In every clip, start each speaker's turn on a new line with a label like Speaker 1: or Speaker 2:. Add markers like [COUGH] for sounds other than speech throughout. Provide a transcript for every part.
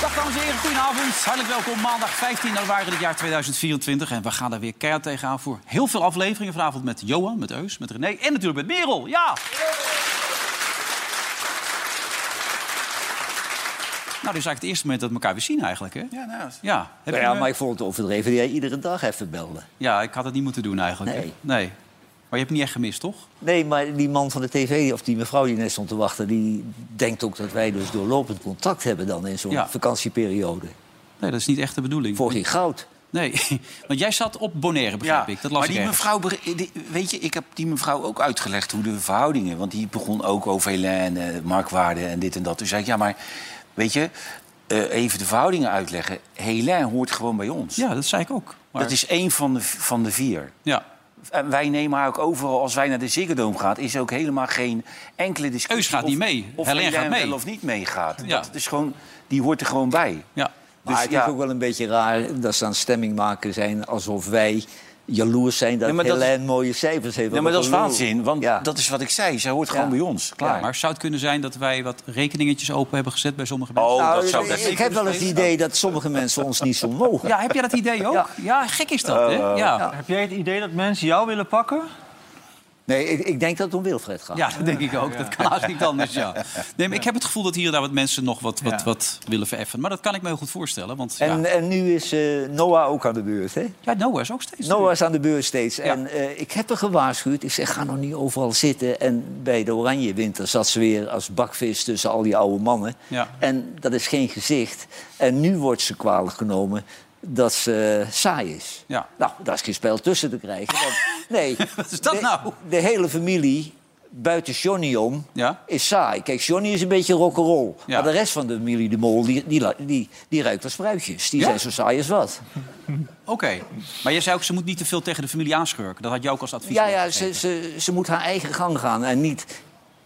Speaker 1: Dag dames en heren, goedenavond. Hartelijk welkom maandag 15 januari dit jaar 2024. En we gaan daar weer keihard tegenaan voor heel veel afleveringen. Vanavond met Johan, met Eus, met René en natuurlijk met Merel. Ja! Nou, dit is eigenlijk het eerste moment dat we elkaar weer zien eigenlijk, hè?
Speaker 2: Ja, nou,
Speaker 1: Ja, heb
Speaker 3: Nou
Speaker 1: je,
Speaker 3: ja,
Speaker 1: eh,
Speaker 3: maar ik vond het overdreven dat jij iedere dag even belde.
Speaker 1: ja ik had het niet moeten doen eigenlijk. hè?
Speaker 3: Nee.
Speaker 1: nee. Maar je hebt het niet echt gemist, toch?
Speaker 3: Nee, maar die man van de tv, of die mevrouw die net stond te wachten... die denkt ook dat wij dus doorlopend contact hebben dan in zo'n
Speaker 1: Ja.
Speaker 3: vakantieperiode.
Speaker 1: Nee, dat is niet echt de bedoeling.
Speaker 3: Voor geen goud.
Speaker 1: Nee, [LAUGHS] want jij zat op Bonaire, begrijp ik. Dat las
Speaker 2: maar die
Speaker 1: ik ergens.
Speaker 2: mevrouw, be- die- weet je, ik heb die mevrouw ook uitgelegd hoe de verhoudingen. Want die begon ook over Hélène, eh, marktwaarde en dit en dat. Toen zei ik, ja, maar weet je, eh, even de verhoudingen uitleggen. Hélène hoort gewoon bij ons.
Speaker 1: Ja, dat zei ik ook. Maar-
Speaker 2: Dat is één van de, van de vier.
Speaker 1: Ja.
Speaker 2: En wij nemen haar ook overal, als wij naar de Ziggo Dome gaan... is er ook helemaal geen enkele discussie
Speaker 1: Eus gaat
Speaker 2: of-
Speaker 1: niet mee.
Speaker 2: Of
Speaker 1: Hélène
Speaker 2: Hélène
Speaker 1: gaat mee.
Speaker 2: wel of niet meegaat.
Speaker 1: Ja.
Speaker 2: Dat is gewoon, die hoort er gewoon bij.
Speaker 1: ja.
Speaker 3: Maar
Speaker 2: Dus
Speaker 3: het
Speaker 2: ja.
Speaker 3: is ook wel een beetje raar dat ze aan stemming maken zijn... alsof wij jaloers zijn dat
Speaker 2: Ja, maar dat-
Speaker 3: Hélène mooie cijfers heeft.
Speaker 2: Ja, maar dat is
Speaker 3: Hallo.
Speaker 2: waanzin, want
Speaker 3: Ja.
Speaker 2: dat is wat ik zei. Zij hoort gewoon
Speaker 3: Ja.
Speaker 2: bij ons, klaar.
Speaker 1: Ja, maar zou het kunnen zijn dat wij wat rekeningetjes open hebben gezet bij sommige mensen?
Speaker 2: Oh,
Speaker 3: [LAUGHS] Nou,
Speaker 2: dat zou
Speaker 3: ik-
Speaker 2: best
Speaker 3: ik heb wel eens het idee dat sommige mensen ons niet zo mogen.
Speaker 1: Ja, heb jij dat idee ook? Ja,
Speaker 3: Ja.
Speaker 1: gek is dat, hè? Ja. Ja.
Speaker 4: Heb jij het idee dat mensen jou willen pakken?
Speaker 3: Nee, ik, ik denk dat het om Wilfred gaat.
Speaker 1: dat denk ik ook. Dat kan haast niet anders, ja. Nee, maar ik heb het gevoel dat hier en daar wat mensen nog wat, wat,
Speaker 4: Ja.
Speaker 1: wat willen vereffen. Maar dat kan ik me heel goed voorstellen, want
Speaker 3: En,
Speaker 1: ja.
Speaker 3: en nu is eh, Noah ook aan de beurt, hè?
Speaker 1: ja, Noah is ook steeds...
Speaker 3: Noah is aan de beurt steeds. En eh, ik heb haar gewaarschuwd. Ik zeg, ga nog niet overal zitten. En bij de Oranje Winter zat ze weer als bakvis tussen al die oude mannen.
Speaker 1: Ja.
Speaker 3: En dat is geen gezicht. En nu wordt ze kwalijk genomen dat ze eh, saai is.
Speaker 1: Ja.
Speaker 3: Nou, daar is geen spel tussen te krijgen. want-
Speaker 1: [LAUGHS]
Speaker 3: nee.
Speaker 1: Wat is dat
Speaker 3: de,
Speaker 1: nou?
Speaker 3: De hele familie, buiten Johnny om,
Speaker 1: Ja.
Speaker 3: is saai. Kijk, Johnny is een beetje rock'n'roll.
Speaker 1: Ja.
Speaker 3: Maar de rest van de familie de Mol, die, die, la- die, die ruikt als spruitjes. Die
Speaker 1: Ja?
Speaker 3: zijn zo saai als wat.
Speaker 1: Oké. Maar jij zei ook, ze moet niet te veel tegen de familie aanschurken. Dat had jou ook als advies
Speaker 3: Ja, ja
Speaker 1: meegegeven.
Speaker 3: ze, ze, ze moet haar eigen gang gaan. En niet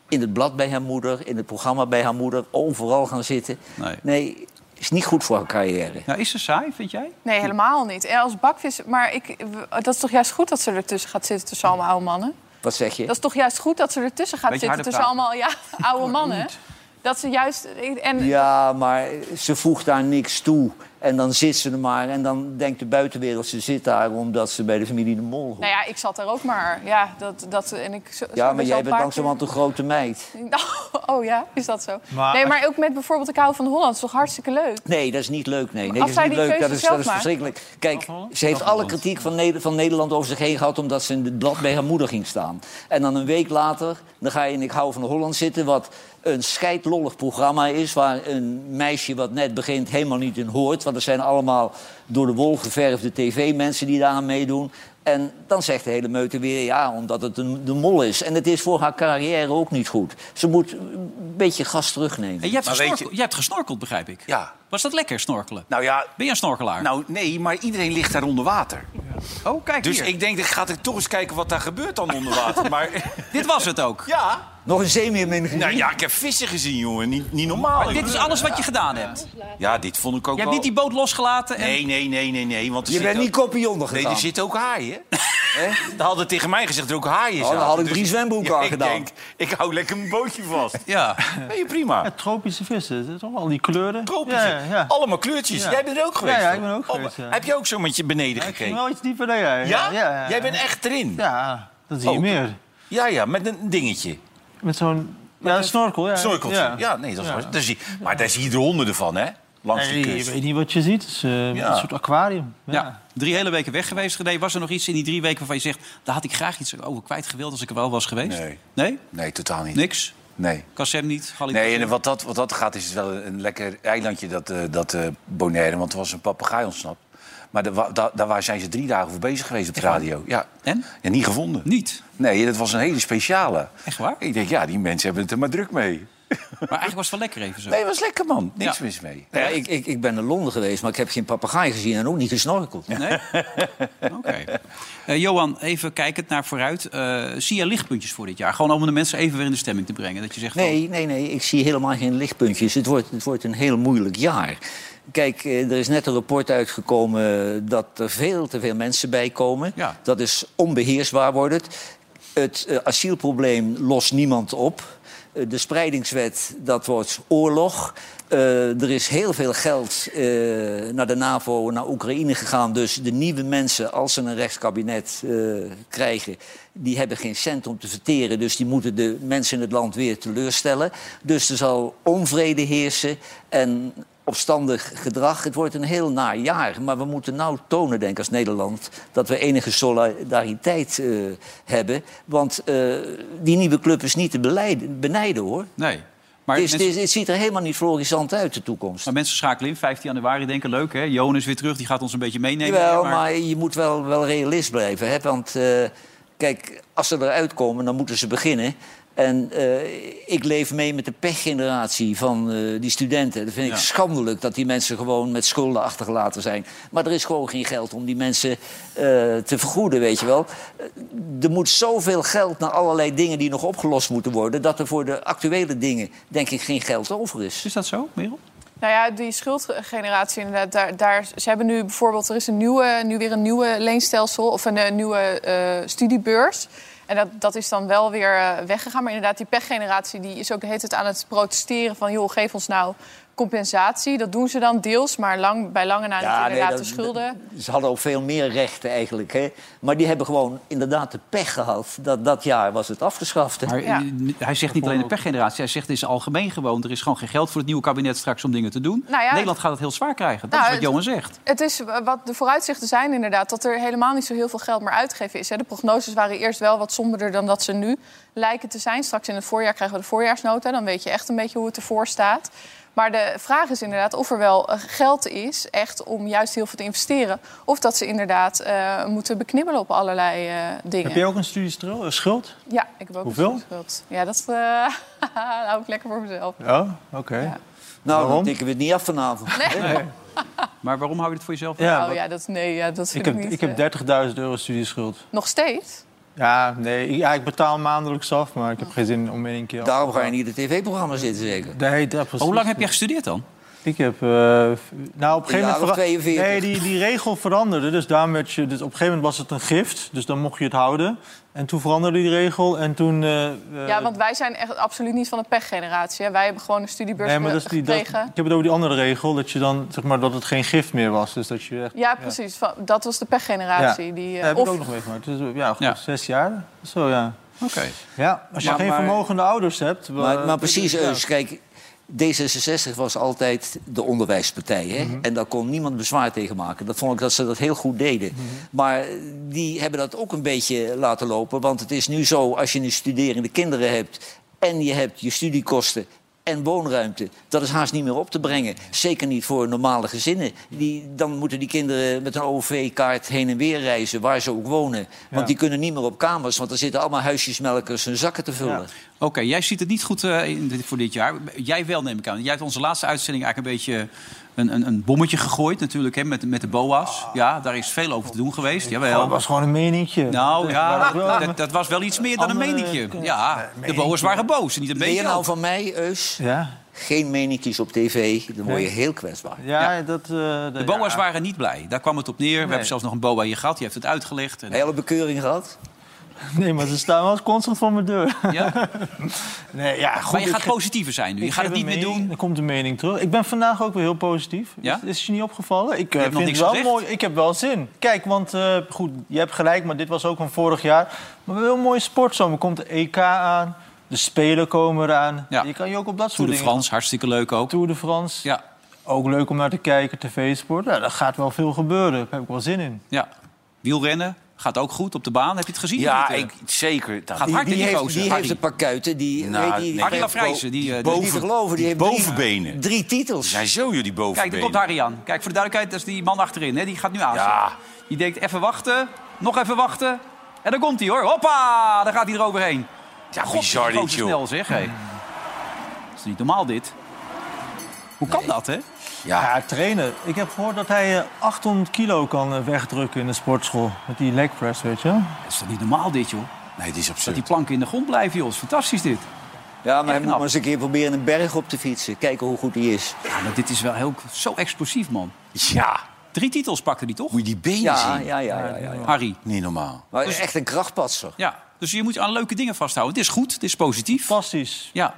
Speaker 3: in het blad bij haar moeder, in het programma bij haar moeder, overal gaan zitten.
Speaker 1: Nee.
Speaker 3: nee is niet goed voor haar carrière.
Speaker 1: Nou, is ze saai, vind jij?
Speaker 5: Nee, helemaal niet. En als bakvis. Maar ik, w- dat is toch juist goed dat ze ertussen gaat zitten tussen allemaal oude mannen?
Speaker 3: Wat zeg je?
Speaker 5: Dat is toch juist goed dat ze ertussen gaat
Speaker 1: Beetje harder
Speaker 5: zitten tussen allemaal ja, [LAUGHS] oude mannen? Dat ze juist. En,
Speaker 3: Ja, maar ze voegt daar niks toe. En dan zit ze er maar. En dan denkt de buitenwereld, ze zit daar omdat ze bij de familie de mol hoort.
Speaker 5: Nou ja, ik zat daar ook maar. Ja, dat, dat, en ik, zo- zo
Speaker 3: ja, maar
Speaker 5: best
Speaker 3: jij bent
Speaker 5: wel een paar
Speaker 3: langzamerhand een grote meid.
Speaker 5: keer- [LAUGHS] Oh, ja, is dat zo?
Speaker 4: Maar
Speaker 5: nee,
Speaker 4: als-
Speaker 5: maar ook met bijvoorbeeld Ik hou van Holland. Dat is toch hartstikke leuk?
Speaker 3: Nee, dat is niet leuk. Nee, nee
Speaker 5: als
Speaker 3: dat is
Speaker 5: zij
Speaker 3: niet
Speaker 5: die
Speaker 3: leuk.
Speaker 5: keuze
Speaker 3: Dat is,
Speaker 5: zelf
Speaker 3: dat is
Speaker 5: maakt.
Speaker 3: verschrikkelijk. Kijk, ze heeft alle kritiek van, Neder- van Nederland over zich heen gehad... omdat ze in het blad bij haar moeder ging staan. En dan een week later, dan ga je in Ik hou van Holland zitten... wat een scheidlollig programma is... waar een meisje wat net begint helemaal niet in hoort. Want er zijn allemaal door de wol geverfde tv-mensen die daaraan meedoen... En dan zegt de hele meute weer ja, omdat het een, de mol is. En het is voor haar carrière ook niet goed. Ze moet een beetje gas terugnemen.
Speaker 1: En jij hebt,
Speaker 2: Maar weet
Speaker 1: gesnorkeld, jij hebt gesnorkeld, begrijp ik.
Speaker 2: Ja.
Speaker 1: Was dat lekker, snorkelen?
Speaker 2: Nou ja,
Speaker 1: Ben je een snorkelaar?
Speaker 2: nou nee, maar iedereen ligt daar onder water.
Speaker 1: oh, kijk
Speaker 2: Dus
Speaker 1: hier.
Speaker 2: ik denk, ik ga er toch eens kijken wat daar gebeurt dan onder water. Maar
Speaker 1: Dit was het ook.
Speaker 2: ja,
Speaker 3: Nog een zeemeermin gezien?
Speaker 2: nou ja, ik heb vissen gezien, jongen. Niet, niet normaal.
Speaker 1: Dit is alles wat je gedaan hebt.
Speaker 2: Ja, dit vond ik ook
Speaker 1: Je hebt
Speaker 2: wel...
Speaker 1: niet die boot losgelaten en...
Speaker 2: Nee, nee, nee, nee, nee. Want er
Speaker 3: Je
Speaker 2: zit
Speaker 3: bent
Speaker 2: ook-
Speaker 3: niet kopionnen
Speaker 2: Nee,
Speaker 3: gegaan.
Speaker 2: er zitten ook haaien. Ze hadden tegen mij gezegd dat er ook haaien
Speaker 3: dan
Speaker 2: zaten. Dus-
Speaker 3: had ik drie zwemboeken aan
Speaker 2: ik
Speaker 3: gedaan.
Speaker 2: Denk, ik hou lekker mijn bootje vast.
Speaker 1: [LAUGHS] Ja.
Speaker 2: Nee, prima.
Speaker 4: Tropische vissen, dat toch al die kleuren?
Speaker 2: Tropische.
Speaker 4: Ja, ja.
Speaker 2: Allemaal kleurtjes.
Speaker 4: Ja.
Speaker 2: Jij bent er ook geweest.
Speaker 4: Ja, ja, ik
Speaker 2: hoor.
Speaker 4: ben ook
Speaker 2: Oh,
Speaker 4: geweest, ja.
Speaker 2: Heb je ook zo met je beneden
Speaker 4: Ik ging
Speaker 2: gekeken?
Speaker 4: wel iets dieper dan jij.
Speaker 2: Ja?
Speaker 4: ja.
Speaker 2: Jij bent echt erin. Ja,
Speaker 4: Ja, dat zie je
Speaker 2: Oh.
Speaker 4: meer.
Speaker 2: ja, met een dingetje.
Speaker 4: Met zo'n... Ja, een snorkel.
Speaker 1: Eh,
Speaker 4: Ja.
Speaker 2: Snorkeltje. Ja. nee, dat is waar. Daar zie, maar daar zie je er honderden van, hè? Langs de
Speaker 4: Nee, je
Speaker 2: kust.
Speaker 4: weet niet wat je ziet. Het is eh,
Speaker 2: Ja.
Speaker 4: een soort aquarium. Ja.
Speaker 1: Ja, drie hele weken weg geweest. René, was er nog iets in die drie weken waarvan je zegt... daar had ik graag iets over kwijt gewild als ik er wel was geweest?
Speaker 2: Nee.
Speaker 1: Nee?
Speaker 2: Nee, totaal niet.
Speaker 1: Niks?
Speaker 2: Nee.
Speaker 1: Kassem niet? Galli
Speaker 2: Nee, en wat dat, wat dat gaat is het wel een lekker eilandje, dat, eh, dat eh, Bonaire. Want er was een papegaai ontsnapt. Maar daar wa- da- daar waar zijn ze drie dagen voor bezig geweest op de radio. Ja.
Speaker 1: En?
Speaker 2: Ja, niet gevonden.
Speaker 1: Niet?
Speaker 2: Nee, dat was een hele speciale.
Speaker 1: Echt waar?
Speaker 2: Ik denk, ja, die mensen hebben het er maar druk mee.
Speaker 1: Maar eigenlijk was het wel lekker even zo.
Speaker 2: Nee, was lekker, man. Niks
Speaker 1: Ja.
Speaker 2: mis mee.
Speaker 3: Nou ja, ik, ik, ik ben naar Londen geweest, maar ik heb geen papegaai gezien en ook niet gesnorkeld.
Speaker 1: Nee? Oké. Eh, Johan, even kijkend naar vooruit. Eh, zie je lichtpuntjes voor dit jaar? Gewoon om de mensen even weer in de stemming te brengen. Dat je zegt, van,
Speaker 3: Nee, nee, nee, ik zie helemaal geen lichtpuntjes. Het wordt, het wordt een heel moeilijk jaar. Kijk, eh, er is net een rapport uitgekomen dat er veel te veel mensen bij komen.
Speaker 1: Ja.
Speaker 3: Dat is onbeheersbaar wordt het. Het eh, asielprobleem lost niemand op. Eh, de spreidingswet, dat wordt oorlog. Eh, er is heel veel geld eh, naar de NAVO, naar Oekraïne gegaan. Dus de nieuwe mensen, als ze een rechtskabinet eh, krijgen... die hebben geen cent om te verteren. Dus die moeten de mensen in het land weer teleurstellen. Dus er zal onvrede heersen en opstandig gedrag. Het wordt een heel naar jaar. Maar we moeten nou tonen, denk ik, als Nederland... dat we enige solidariteit eh, hebben. Want eh, die nieuwe club is niet te beleiden- benijden, hoor.
Speaker 1: nee. Maar,
Speaker 3: Het, is-
Speaker 1: mensen,
Speaker 3: het is- het ziet er helemaal niet florissant uit, de toekomst.
Speaker 1: maar mensen schakelen in. 15 januari denken, leuk hè. Johan is weer terug. Die gaat ons een beetje meenemen.
Speaker 3: Jawel,
Speaker 1: Maar-
Speaker 3: maar... je moet wel, wel realist blijven. Hè? Want eh, kijk, als ze eruit komen, dan moeten ze beginnen. En eh, ik leef mee met de pechgeneratie van eh, die studenten. Dat vind ik
Speaker 1: Ja.
Speaker 3: schandelijk dat die mensen gewoon met schulden achtergelaten zijn. Maar er is gewoon geen geld om die mensen eh, te vergoeden, weet je wel. Eh, Er moet zoveel geld naar allerlei dingen die nog opgelost moeten worden... dat er voor de actuele dingen, denk ik, geen geld over is.
Speaker 1: Is dat zo, Merel?
Speaker 5: Nou ja, die schuldgeneratie inderdaad. Daar, daar, ze hebben nu bijvoorbeeld, er is een nieuwe, nu weer een nieuwe leenstelsel of een eh, nieuwe eh, studiebeurs. En dat, dat is dan wel weer eh, weggegaan. Maar inderdaad, die pechgeneratie die is ook heet het aan het protesteren van joh, geef ons nou compensatie. Dat doen ze dan deels, maar lang, bij lange na niet
Speaker 3: nee,
Speaker 5: inderdaad
Speaker 3: dat-
Speaker 5: de schulden.
Speaker 3: dat- Ze hadden ook veel meer rechten eigenlijk. Hè? Maar die hebben gewoon inderdaad de pech gehad. Dat, dat jaar was het afgeschaft. hè.
Speaker 1: Maar
Speaker 5: Ja.
Speaker 1: eh, hij zegt niet alleen de pechgeneratie. Hij zegt, het is algemeen gewoon. Er is gewoon geen geld voor het nieuwe kabinet straks om dingen te doen.
Speaker 5: Nou ja,
Speaker 1: Nederland gaat het heel zwaar krijgen. Dat
Speaker 5: Nou,
Speaker 1: is wat
Speaker 5: het-
Speaker 1: Johan zegt.
Speaker 5: Het is eh, wat de vooruitzichten zijn inderdaad, dat er helemaal niet zo heel veel geld meer uitgegeven is. Hè. De prognoses waren eerst wel wat somberder dan dat ze nu lijken te zijn. Straks in het voorjaar krijgen we de voorjaarsnota. Dan weet je echt een beetje hoe het ervoor staat. Maar de vraag is inderdaad of er wel eh, geld is, echt om juist heel veel te investeren. Of dat ze inderdaad eh, moeten beknibbelen op allerlei eh, dingen.
Speaker 4: Heb je ook een studiestrul- eh, schuld?
Speaker 5: Ja, ik heb ook
Speaker 4: Hoeveel?
Speaker 5: een schuld. Ja, dat eh [LAUGHS] hou ik lekker voor mezelf.
Speaker 4: Oh, oké.
Speaker 5: Ja.
Speaker 3: nou, dan
Speaker 4: waarom?
Speaker 3: tikken we het niet af vanavond.
Speaker 1: Maar waarom hou je dit voor jezelf?
Speaker 4: Ja,
Speaker 5: oh
Speaker 4: wat-
Speaker 5: ja, dat, nee, ja, dat
Speaker 4: ik,
Speaker 5: vind ik,
Speaker 4: heb,
Speaker 5: niet.
Speaker 4: ik
Speaker 5: eh,
Speaker 4: heb 30.000 euro studieschuld.
Speaker 5: Nog steeds?
Speaker 4: Ja, nee, ik- ja, ik betaal maandelijks af, maar ik heb geen zin om in één keer... af-
Speaker 3: Daarom ga je niet in het tv-programma zitten, zeker.
Speaker 4: Nee, dat precies.
Speaker 1: Hoe lang heb jij gestudeerd dan?
Speaker 4: Ik heb... eh, v- nou, op een gegeven
Speaker 3: jaar
Speaker 4: moment...
Speaker 3: of
Speaker 4: vera-
Speaker 3: 42.
Speaker 4: Nee, die, die regel veranderde, dus daarom werd je... Dus op een gegeven moment was het een gift, dus dan mocht je het houden. En toen veranderde die regel en toen... eh, eh,
Speaker 5: Ja, want wij zijn echt absoluut niet van de pechgeneratie. Hè. Wij hebben gewoon een studiebeurs
Speaker 4: Nee, maar dat is die, dat, ik
Speaker 5: gekregen.
Speaker 4: heb het over die andere regel, dat je dan zeg maar dat het geen gift meer was, dus dat je echt.
Speaker 5: Ja, precies. Van- Dat was de pechgeneratie. Die,
Speaker 4: Ja,
Speaker 5: eh,
Speaker 4: heb
Speaker 5: of,
Speaker 4: ik ook nog meegemaakt. Dus, eh, ja, goed,
Speaker 1: Ja.
Speaker 4: zes jaar. Zo ja.
Speaker 1: Oké.
Speaker 4: Ja, als je
Speaker 3: Maar-
Speaker 4: geen
Speaker 3: maar-
Speaker 4: vermogende ouders hebt. wa-
Speaker 3: Maar, maar precies,
Speaker 4: eh,
Speaker 3: eh,
Speaker 4: ja.
Speaker 3: Eus, kijk... D66 was altijd de onderwijspartij. Hè?
Speaker 4: Mhm.
Speaker 3: En daar kon niemand bezwaar tegen maken. Dat vond ik dat ze dat heel goed deden.
Speaker 4: Mhm.
Speaker 3: Maar die hebben dat ook een beetje laten lopen. Want het is nu zo, als je nu studerende kinderen hebt... en je hebt je studiekosten en woonruimte... dat is haast niet meer op te brengen. Zeker niet voor normale gezinnen. Die, dan moeten die kinderen met een OV-kaart heen en weer reizen... waar ze ook wonen. Want
Speaker 4: Ja.
Speaker 3: die kunnen niet meer op kamers... want er zitten allemaal huisjesmelkers hun zakken te vullen.
Speaker 1: Oké, jij ziet het niet goed eh, in dit- voor dit jaar. Jij wel, neem ik aan. Jij hebt onze laatste uitzending eigenlijk een beetje een, een, een bommetje gegooid, natuurlijk, hè, met, met de boa's. Ja, daar is veel over te doen geweest.
Speaker 4: Oh, het
Speaker 1: Jawel.
Speaker 4: was gewoon een meningje.
Speaker 1: Nou
Speaker 4: Dus
Speaker 1: ja,
Speaker 4: waar ik wel-
Speaker 1: [LAUGHS] dat, dat was wel iets meer dan een
Speaker 4: Andere-
Speaker 1: meningje. Ja, de boa's waren boos. Niet een
Speaker 3: Ben je
Speaker 1: beetje.
Speaker 3: nou
Speaker 1: ook.
Speaker 3: van mij, Eus?
Speaker 4: ja.
Speaker 3: Geen meninkjes op tv, dan word je heel kwetsbaar.
Speaker 4: Ja, dat. eh
Speaker 1: De boa's waren niet blij. Daar kwam het op neer. We hebben zelfs nog een boa hier gehad. Die heeft het uitgelegd. En,
Speaker 3: Heb je al een bekeuring gehad?
Speaker 4: Nee, maar ze staan wel eens constant voor mijn deur.
Speaker 2: [LAUGHS]
Speaker 4: [LAUGHS]
Speaker 1: ja.
Speaker 4: Nee, ja, goed.
Speaker 1: maar je
Speaker 4: ik
Speaker 1: gaat
Speaker 4: ge-
Speaker 1: positiever zijn nu. Je
Speaker 4: ik
Speaker 1: gaat
Speaker 4: geef
Speaker 1: het niet
Speaker 4: een
Speaker 1: meer
Speaker 4: mening,
Speaker 1: doen.
Speaker 4: Dan komt de mening terug. Ik ben vandaag ook weer heel positief.
Speaker 1: Ja?
Speaker 4: Is, is het je niet opgevallen? Ik eh,
Speaker 1: hebt nog
Speaker 4: vind
Speaker 1: niks
Speaker 4: het wel
Speaker 1: gezegd.
Speaker 4: mooi. Ik heb wel zin. Kijk, want eh, goed, je hebt gelijk, maar dit was ook van vorig jaar. Maar we hebben een mooie sportzomer. Komt de EK aan, de Spelen komen eraan.
Speaker 1: Ja.
Speaker 4: Je kan je ook op dat soort
Speaker 1: Tour de
Speaker 4: dingen...
Speaker 1: Frans, hartstikke leuk ook.
Speaker 4: Tour de France.
Speaker 1: Ja,
Speaker 4: Ook leuk om naar te kijken, tv-sport. Ja, daar gaat wel veel gebeuren. Daar heb ik wel zin in.
Speaker 1: ja. Wielrennen gaat ook goed op de baan. Heb je het gezien?
Speaker 2: Ja,
Speaker 1: Niet, eh?
Speaker 2: ik, zeker. Dat,
Speaker 1: Gaat hard in
Speaker 3: die
Speaker 1: die
Speaker 3: heeft,
Speaker 1: gozer,
Speaker 3: die
Speaker 1: Harry.
Speaker 3: heeft een paar kuiten. Die,
Speaker 2: Nou,
Speaker 3: weet je, die,
Speaker 1: Harry
Speaker 3: heeft
Speaker 1: Lafrijzen, die, eh, die-
Speaker 3: niet te geloven. Die heeft drie-
Speaker 2: bovenbenen.
Speaker 3: Drie titels.
Speaker 2: zijn zo jullie
Speaker 1: Kijk, daar
Speaker 2: bovenbenen.
Speaker 1: komt Harry aan. Kijk, voor de duidelijkheid, dat is die man achterin. Hè? Die gaat nu aan.
Speaker 2: Ja.
Speaker 1: Die denkt, even wachten, nog even wachten. En dan komt hij hoor. Hoppa, daar gaat hij eroverheen.
Speaker 2: ja,
Speaker 1: God,
Speaker 2: bizar Hmm.
Speaker 1: die gozer
Speaker 2: dit, joh.
Speaker 1: snel zeg. Hé. toch niet normaal dit? Hoe kan dat, hè?
Speaker 2: Ja,
Speaker 4: Ja, trainen. Ik heb gehoord dat hij eh, 800 kilo kan eh, wegdrukken in de sportschool. Met die leg press, weet je.
Speaker 1: Dat is toch niet normaal dit, joh?
Speaker 2: nee, dit is absurd.
Speaker 1: Dat die planken in de grond blijven, joh. Dat is fantastisch, dit.
Speaker 3: Ja, maar hij moet
Speaker 1: knap.
Speaker 3: maar eens een keer proberen een berg op te fietsen. Kijken hoe goed hij is.
Speaker 1: Ja, maar dit is wel heel, zo explosief, man.
Speaker 2: Ja,
Speaker 1: Drie titels pakte hij, toch?
Speaker 2: moet je die benen
Speaker 3: Ja,
Speaker 2: zien?
Speaker 3: ja, ja. ja, ja, ja.
Speaker 1: Harry.
Speaker 2: Niet normaal.
Speaker 3: Maar hij is echt een krachtpatser.
Speaker 1: Ja, dus je moet aan leuke dingen vasthouden. Het is goed, het is positief.
Speaker 4: Fantastisch.
Speaker 1: Ja,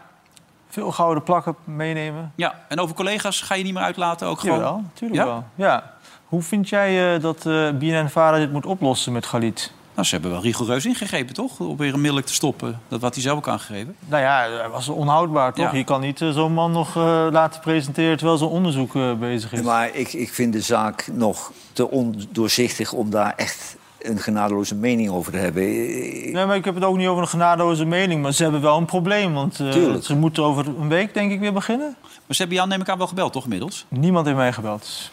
Speaker 4: Veel gouden plakken meenemen.
Speaker 1: ja. En over collega's ga je niet meer uitlaten ook gewoon?
Speaker 4: Jawel, natuurlijk
Speaker 1: Ja?
Speaker 4: wel. Ja. Hoe vind jij eh, dat eh BNN Vara dit moet oplossen met Galit?
Speaker 1: Nou, ze hebben wel rigoureus ingegrepen, toch? Om weer een middelijk te stoppen. Dat wat hij zelf ook aangegeven.
Speaker 4: Nou ja, hij was onhoudbaar toch?
Speaker 1: Ja.
Speaker 4: Je kan niet eh, zo'n man nog eh, laten presenteren terwijl zo'n onderzoek eh, bezig is.
Speaker 3: Maar ik, ik vind de zaak nog te ondoorzichtig om daar echt een genadeloze mening over te hebben. Eh,
Speaker 4: Nee, maar ik heb het ook niet over een genadeloze mening, maar ze hebben wel een probleem. Want eh,
Speaker 3: Tuurlijk.
Speaker 4: ze moeten over een week, denk ik, weer beginnen.
Speaker 1: Maar ze hebben jou, neem ik aan, wel gebeld, toch, inmiddels?
Speaker 4: Niemand heeft mij gebeld.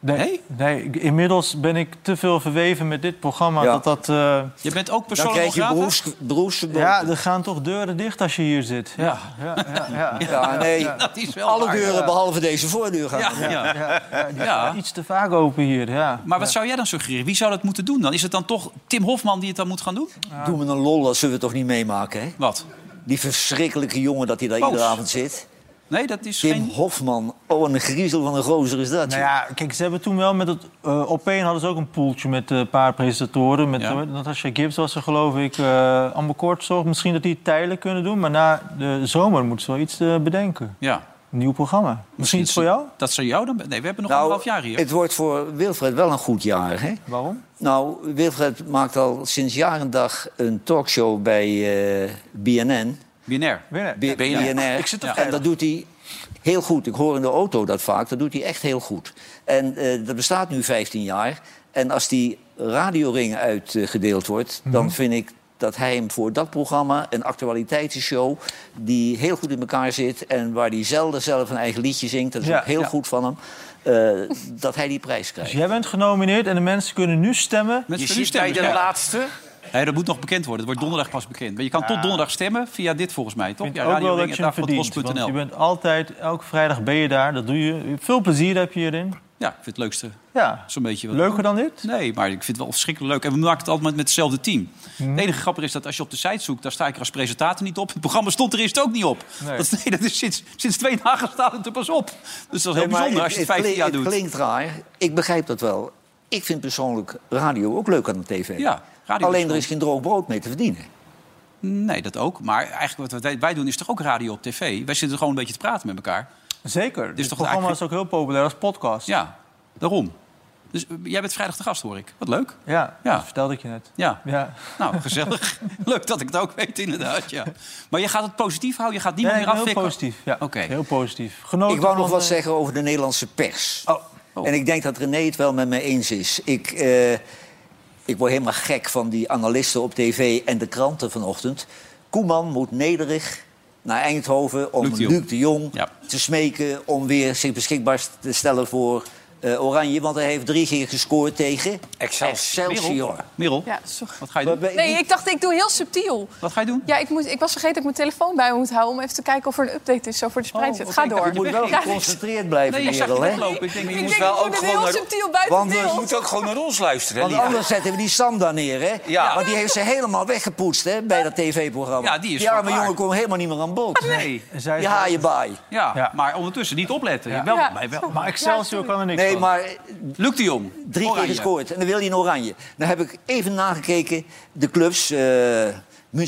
Speaker 4: Nee,
Speaker 1: Nee?
Speaker 4: nee, ik- inmiddels ben ik te veel verweven met dit programma.
Speaker 3: Ja.
Speaker 4: Dat dat, eh,
Speaker 1: Je bent ook
Speaker 3: Dan
Speaker 1: persoonlijk
Speaker 3: krijg je
Speaker 1: non grata?
Speaker 3: beroeps, beroepsverbod.
Speaker 4: ja,
Speaker 3: Ja,
Speaker 4: er gaan toch deuren dicht als je hier zit.
Speaker 1: Ja.
Speaker 4: ja, ja, ja.
Speaker 3: nee.
Speaker 1: Dat is wel
Speaker 3: Alle
Speaker 1: waar.
Speaker 3: deuren behalve deze voordeur gaan.
Speaker 1: Ja, ja.
Speaker 4: Ja.
Speaker 1: Ja.
Speaker 4: Iets te vaak open hier, ja.
Speaker 1: Maar wat zou jij dan suggereren? Wie zou dat moeten doen dan? Is het dan toch Tim Hofman die het dan moet gaan doen?
Speaker 3: Doe me een lol, dat zullen we toch niet meemaken, hè?
Speaker 1: Wat?
Speaker 3: Die verschrikkelijke jongen dat hij daar
Speaker 1: Boos.
Speaker 3: iedere avond zit.
Speaker 1: Nee, dat is
Speaker 3: Tim
Speaker 1: geen...
Speaker 3: Hofman. Oh, een griezel van een gozer is dat.
Speaker 4: Nou ja, kijk, ze hebben toen wel met het eh opeen hadden ze ook een poeltje met eh, een paar presentatoren. Met
Speaker 1: Ja.
Speaker 4: eh, Natasha Gibbs was er geloof ik, eh Amber Kortzorg. Misschien dat die tijdelijk kunnen doen, maar na de zomer moeten ze wel iets eh, bedenken.
Speaker 1: Ja.
Speaker 4: Een nieuw programma. Misschien, iets voor jou?
Speaker 1: Dat zou jou dan... Nee, we hebben nog
Speaker 3: Nou,
Speaker 1: anderhalf jaar hier.
Speaker 3: Het wordt voor Wilfred wel een goed jaar, hè?
Speaker 4: Waarom?
Speaker 3: Nou, Wilfred maakt al sinds jaar en dag een talkshow bij eh, BNN.
Speaker 1: Binair.
Speaker 4: Winnen.
Speaker 3: B- BNR.
Speaker 1: Ik zit er
Speaker 3: en dat doet hij heel goed. Ik hoor in de auto dat vaak. Dat doet hij echt heel goed. En eh, dat bestaat nu 15 jaar. En als die radioring uitgedeeld wordt,
Speaker 4: Mhm.
Speaker 3: dan vind ik dat hij hem voor dat programma, een actualiteitsshow... die heel goed in elkaar zit en waar hij zelden zelf een eigen liedje zingt... dat is
Speaker 4: Ja,
Speaker 3: ook heel
Speaker 4: ja.
Speaker 3: goed van hem, eh, dat hij die prijs krijgt.
Speaker 4: Dus jij bent genomineerd en de mensen kunnen nu stemmen.
Speaker 1: Met
Speaker 2: Je
Speaker 1: verlies
Speaker 2: zit bij
Speaker 1: stemmen,
Speaker 2: de
Speaker 1: ja.
Speaker 2: laatste.
Speaker 1: Nee, dat moet nog bekend worden. Het wordt donderdag pas bekend. Maar je kan tot donderdag stemmen via dit volgens mij, toch?
Speaker 4: Ik vind ook wel dat je hem verdient. Want je bent altijd, elke vrijdag ben je daar. Dat doe je. Veel plezier heb je hierin.
Speaker 1: Ja, ik vind het leukste
Speaker 4: Ja.
Speaker 1: zo'n beetje wel.
Speaker 4: Leuker dan dit?
Speaker 1: Nee, maar ik vind het wel verschrikkelijk leuk. En we maken het altijd met hetzelfde team.
Speaker 4: Mhm.
Speaker 1: Het enige grappige is dat als je op de site zoekt... daar sta ik er als presentator niet op. Het programma stond er eerst ook niet op.
Speaker 4: Nee.
Speaker 1: Dat, nee, dat is sinds, sinds twee dagen staat het er pas op. Dus dat is heel
Speaker 3: Nee, maar
Speaker 1: bijzonder als je het 15 jaar doet.
Speaker 3: klink- het klinkt raar. Ik begrijp dat wel. Ik vind persoonlijk radio ook leuk aan de tv.
Speaker 1: Ja, radio
Speaker 3: Alleen
Speaker 1: is
Speaker 3: er is geen droog brood mee te verdienen.
Speaker 1: Nee, dat ook. Maar eigenlijk wat wij- wij doen is toch ook radio op tv? Wij zitten gewoon een beetje te praten met elkaar.
Speaker 4: Zeker. Dit
Speaker 1: toch
Speaker 4: programma
Speaker 1: eigenlijk-
Speaker 4: is ook heel populair als podcast.
Speaker 1: Ja, daarom. Dus eh, jij bent vrijdag te gast, hoor ik. Wat leuk.
Speaker 4: ja.
Speaker 1: Ja.
Speaker 4: Dat vertelde ik je net.
Speaker 1: Ja,
Speaker 4: Ja.
Speaker 1: nou, gezellig. Leuk dat ik het ook weet, inderdaad, ja. Maar je gaat het positief houden? Je gaat
Speaker 4: Ja,
Speaker 1: niemand
Speaker 4: ik
Speaker 1: meer
Speaker 4: ben heel
Speaker 1: afvikken?
Speaker 4: positief. Ja.
Speaker 1: Oké.
Speaker 4: Heel positief. Genoten
Speaker 3: Ik wou nog
Speaker 4: van,
Speaker 3: wat
Speaker 4: eh,
Speaker 3: zeggen over de Nederlandse pers.
Speaker 1: Oh.
Speaker 3: En ik denk dat René het wel met me eens is. Ik, eh, ik word helemaal gek van die analisten op tv en de kranten vanochtend. Koeman moet nederig naar Eindhoven om
Speaker 1: Luc
Speaker 3: Luc
Speaker 1: de
Speaker 3: de
Speaker 1: Jong.
Speaker 3: Jong,
Speaker 1: Ja.
Speaker 3: te smeken... om weer zich beschikbaar te stellen voor eh, Oranje. Want hij heeft drie keer gescoord tegen
Speaker 2: Excelsior.
Speaker 3: Excelsior.
Speaker 1: Merel,
Speaker 5: Ja, sorry.
Speaker 1: wat ga je doen?
Speaker 3: Waarbij-
Speaker 5: Nee, ik dacht, ik doe heel subtiel.
Speaker 1: Wat ga je doen?
Speaker 5: Ja, ik, moest, ik was vergeten dat ik mijn telefoon bij me moet houden... om even te kijken of er een update is over de spreidset. Ga
Speaker 1: oké,
Speaker 5: door.
Speaker 1: ik
Speaker 3: Je [LAUGHS] moet wel
Speaker 5: Ja,
Speaker 3: geconcentreerd blijven,
Speaker 1: Nee, je zag
Speaker 3: kerel,
Speaker 1: het
Speaker 3: hè?
Speaker 1: weglopen. Ik denk,
Speaker 5: [LAUGHS] ik
Speaker 1: je
Speaker 5: denk,
Speaker 1: moet
Speaker 5: ik
Speaker 1: wel...
Speaker 2: wel ook
Speaker 5: moet het
Speaker 2: gewoon naar-
Speaker 5: heel subtiel buiten
Speaker 3: Want-
Speaker 2: Je
Speaker 5: beeld.
Speaker 2: moet ook gewoon naar ons luisteren, hè,
Speaker 3: Want
Speaker 2: Lina?
Speaker 3: anders zetten we die Sam daar neer, hè?
Speaker 2: Ja.
Speaker 3: Want die heeft ze helemaal weggepoetst, hè, bij dat tv-programma.
Speaker 1: Ja, die is
Speaker 3: die arme
Speaker 1: verklaard.
Speaker 3: jongen kon helemaal niet meer aan bod.
Speaker 1: Nee,
Speaker 4: Zij
Speaker 3: Je
Speaker 4: is-
Speaker 3: haaienbaai.
Speaker 1: ja,
Speaker 4: Ja.
Speaker 1: maar ondertussen niet opletten. Je Wel,
Speaker 5: Ja.
Speaker 1: bij wel.
Speaker 4: Maar Excelsior kan er niks
Speaker 3: Nee,
Speaker 4: van.
Speaker 3: maar
Speaker 1: Luc de Jong,
Speaker 3: drie
Speaker 1: Oranje.
Speaker 3: keer gescoord. En dan wil je in oranje. Nou heb ik even nagekeken. De clubs, eh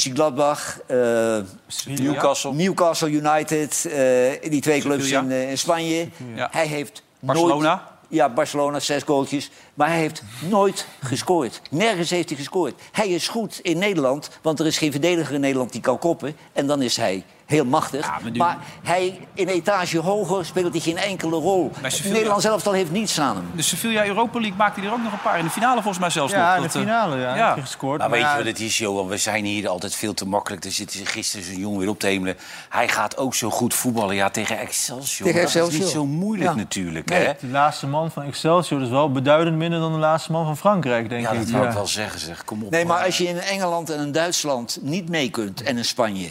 Speaker 3: Mönchengladbach, eh
Speaker 2: Newcastle.
Speaker 3: Newcastle United. eh, die twee clubs
Speaker 1: Sevilla.
Speaker 3: in, eh, in Spanje.
Speaker 1: Ja.
Speaker 3: Hij heeft nooit...
Speaker 1: Barcelona.
Speaker 3: Ja, Barcelona, zes goaltjes. Maar hij heeft nooit gescoord. Nergens heeft hij gescoord. Hij is goed in Nederland, want er is geen verdediger in Nederland die kan koppen. En dan is hij heel machtig.
Speaker 1: Ja, maar
Speaker 3: maar,
Speaker 1: nu-
Speaker 3: hij, in etage hoger speelt hij geen enkele rol.
Speaker 1: Bij Sevilla.
Speaker 3: Nederland zelf al heeft niets aan hem.
Speaker 1: De Sevilla Europa League maakte hij er ook nog een paar. In de finale volgens mij zelfs nog.
Speaker 4: Ja, in de
Speaker 1: Dat, eh,
Speaker 4: finale ja,
Speaker 1: ja.
Speaker 4: heb je gescoord.
Speaker 2: Maar Nou, weet je
Speaker 4: ja,
Speaker 2: wat het is, Johan? We zijn hier altijd veel te makkelijk. Er zit gisteren zo'n jongen weer op te hemelen. Hij gaat ook zo goed voetballen. Ja, tegen Excelsior.
Speaker 3: Tegen
Speaker 2: Dat is niet
Speaker 3: Excelsior.
Speaker 2: zo moeilijk
Speaker 3: Ja.
Speaker 2: natuurlijk,
Speaker 3: Nee.
Speaker 2: hè?
Speaker 4: De laatste man van Excelsior is wel beduidend minder dan de laatste man van Frankrijk, denk
Speaker 2: Ja,
Speaker 4: ik.
Speaker 2: dat wou ik wel zeggen, zeg. Kom op.
Speaker 3: Nee, maar
Speaker 2: man.
Speaker 3: als je in Engeland en in Duitsland niet mee kunt en in Spanje...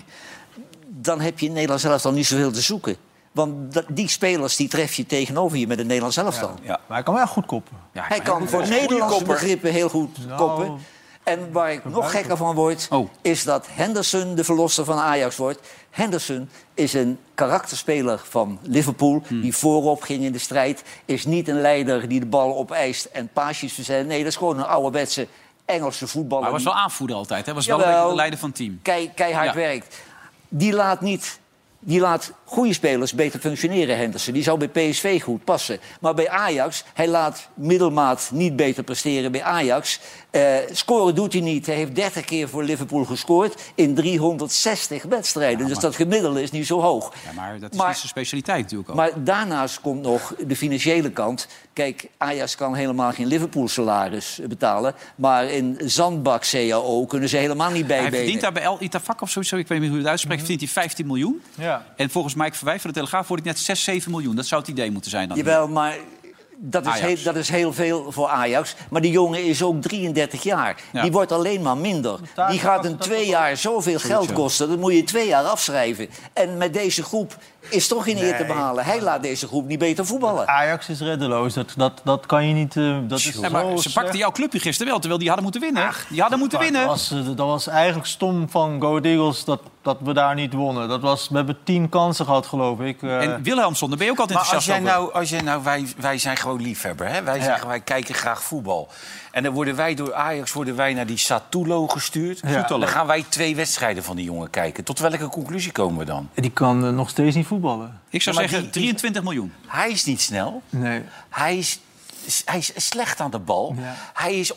Speaker 3: dan heb je in Nederland zelf dan niet zoveel te zoeken. Want da- die spelers die tref je tegenover je met het Nederlands elftal.
Speaker 1: Ja.
Speaker 4: Maar hij kan wel goed koppen.
Speaker 1: Ja,
Speaker 3: Hij kan voor Nederlandse begrippen heel goed koppen. En waar ik nog gekker van word,
Speaker 1: Oh.
Speaker 3: is dat Henderson de verlosser van Ajax wordt. Henderson is een karakterspeler van Liverpool,
Speaker 1: Hmm.
Speaker 3: die voorop ging in de strijd. Is niet een leider die de bal opeist en paasjes verzet. Nee, dat is gewoon een ouderwetse Engelse voetballer.
Speaker 1: Maar hij was
Speaker 3: die
Speaker 1: wel aanvoerder altijd. Hij was wel een
Speaker 3: Jawel.
Speaker 1: beetje de leider van het team.
Speaker 3: kei- keihard
Speaker 1: Ja.
Speaker 3: werkt. Die laat niet. Die laat goede spelers beter functioneren, Henderson. Die zou bij PSV goed passen. Maar bij Ajax, hij laat middelmaat niet beter presteren bij Ajax. Eh, scoren doet hij niet. Hij heeft 30 keer voor Liverpool gescoord in 360 wedstrijden. dus dat gemiddelde is niet zo hoog.
Speaker 1: Ja, maar dat is
Speaker 3: Maar-
Speaker 1: niet zijn specialiteit natuurlijk ook.
Speaker 3: Maar daarnaast komt nog de financiële kant. Kijk, Ajax kan helemaal geen Liverpool-salaris betalen. Maar in Zandbak-CAO kunnen ze helemaal
Speaker 1: hij
Speaker 3: niet bijbenen.
Speaker 1: verdient daar bij El Itafak of zoiets, ik weet niet hoe je het uitspreekt,
Speaker 3: Mhm.
Speaker 1: verdient hij 15 miljoen.
Speaker 4: Ja.
Speaker 1: En volgens Mike Verwij van de Telegraaf wordt ik net 6, 7 miljoen. Dat zou het idee moeten zijn dan.
Speaker 3: Jawel, maar dat is,
Speaker 1: Ajax.
Speaker 3: heel, dat is heel veel voor Ajax. Maar die jongen is ook 33 jaar.
Speaker 1: Ja.
Speaker 3: Die wordt alleen maar minder.
Speaker 4: daar
Speaker 3: Die gaat
Speaker 4: gaat
Speaker 3: in
Speaker 4: het
Speaker 3: twee jaar zoveel geld kosten. Dat moet je twee jaar afschrijven. En met deze groep is toch geen eer te behalen. Hij laat deze groep niet beter voetballen.
Speaker 4: Ajax is reddeloos. Dat, dat, dat kan je niet... eh, dat is
Speaker 1: Ja, maar
Speaker 4: zo
Speaker 1: ze
Speaker 4: slecht.
Speaker 1: pakten jouw clubje gisteren wel, terwijl die hadden moeten winnen. die hadden moeten
Speaker 4: Maar
Speaker 1: winnen.
Speaker 4: Dat was, eh, dat was eigenlijk stom van Go Ahead Eagles dat, dat we daar niet wonnen. Dat was, we hebben tien kansen gehad, geloof ik. eh.
Speaker 1: En Wilhelmson, daar ben je ook altijd
Speaker 2: Maar als
Speaker 1: enthousiast
Speaker 2: jij
Speaker 1: over.
Speaker 2: nou, als jij nou wij, wij zijn gewoon liefhebber, hè? Wij, zeggen, wij kijken graag voetbal. En dan worden wij door Ajax worden wij naar die Satulo gestuurd.
Speaker 4: Satulo.
Speaker 2: Dan gaan wij twee wedstrijden van die jongen kijken. Tot welke conclusie komen we dan?
Speaker 4: Die kan eh, nog steeds niet voetballen.
Speaker 1: Ik zou
Speaker 2: Ja, maar
Speaker 1: zeggen
Speaker 2: die- die-
Speaker 1: 23 miljoen.
Speaker 2: Hij is niet snel.
Speaker 4: Nee.
Speaker 2: Hij is, hij is slecht aan de bal.
Speaker 4: Ja.
Speaker 2: Hij is o-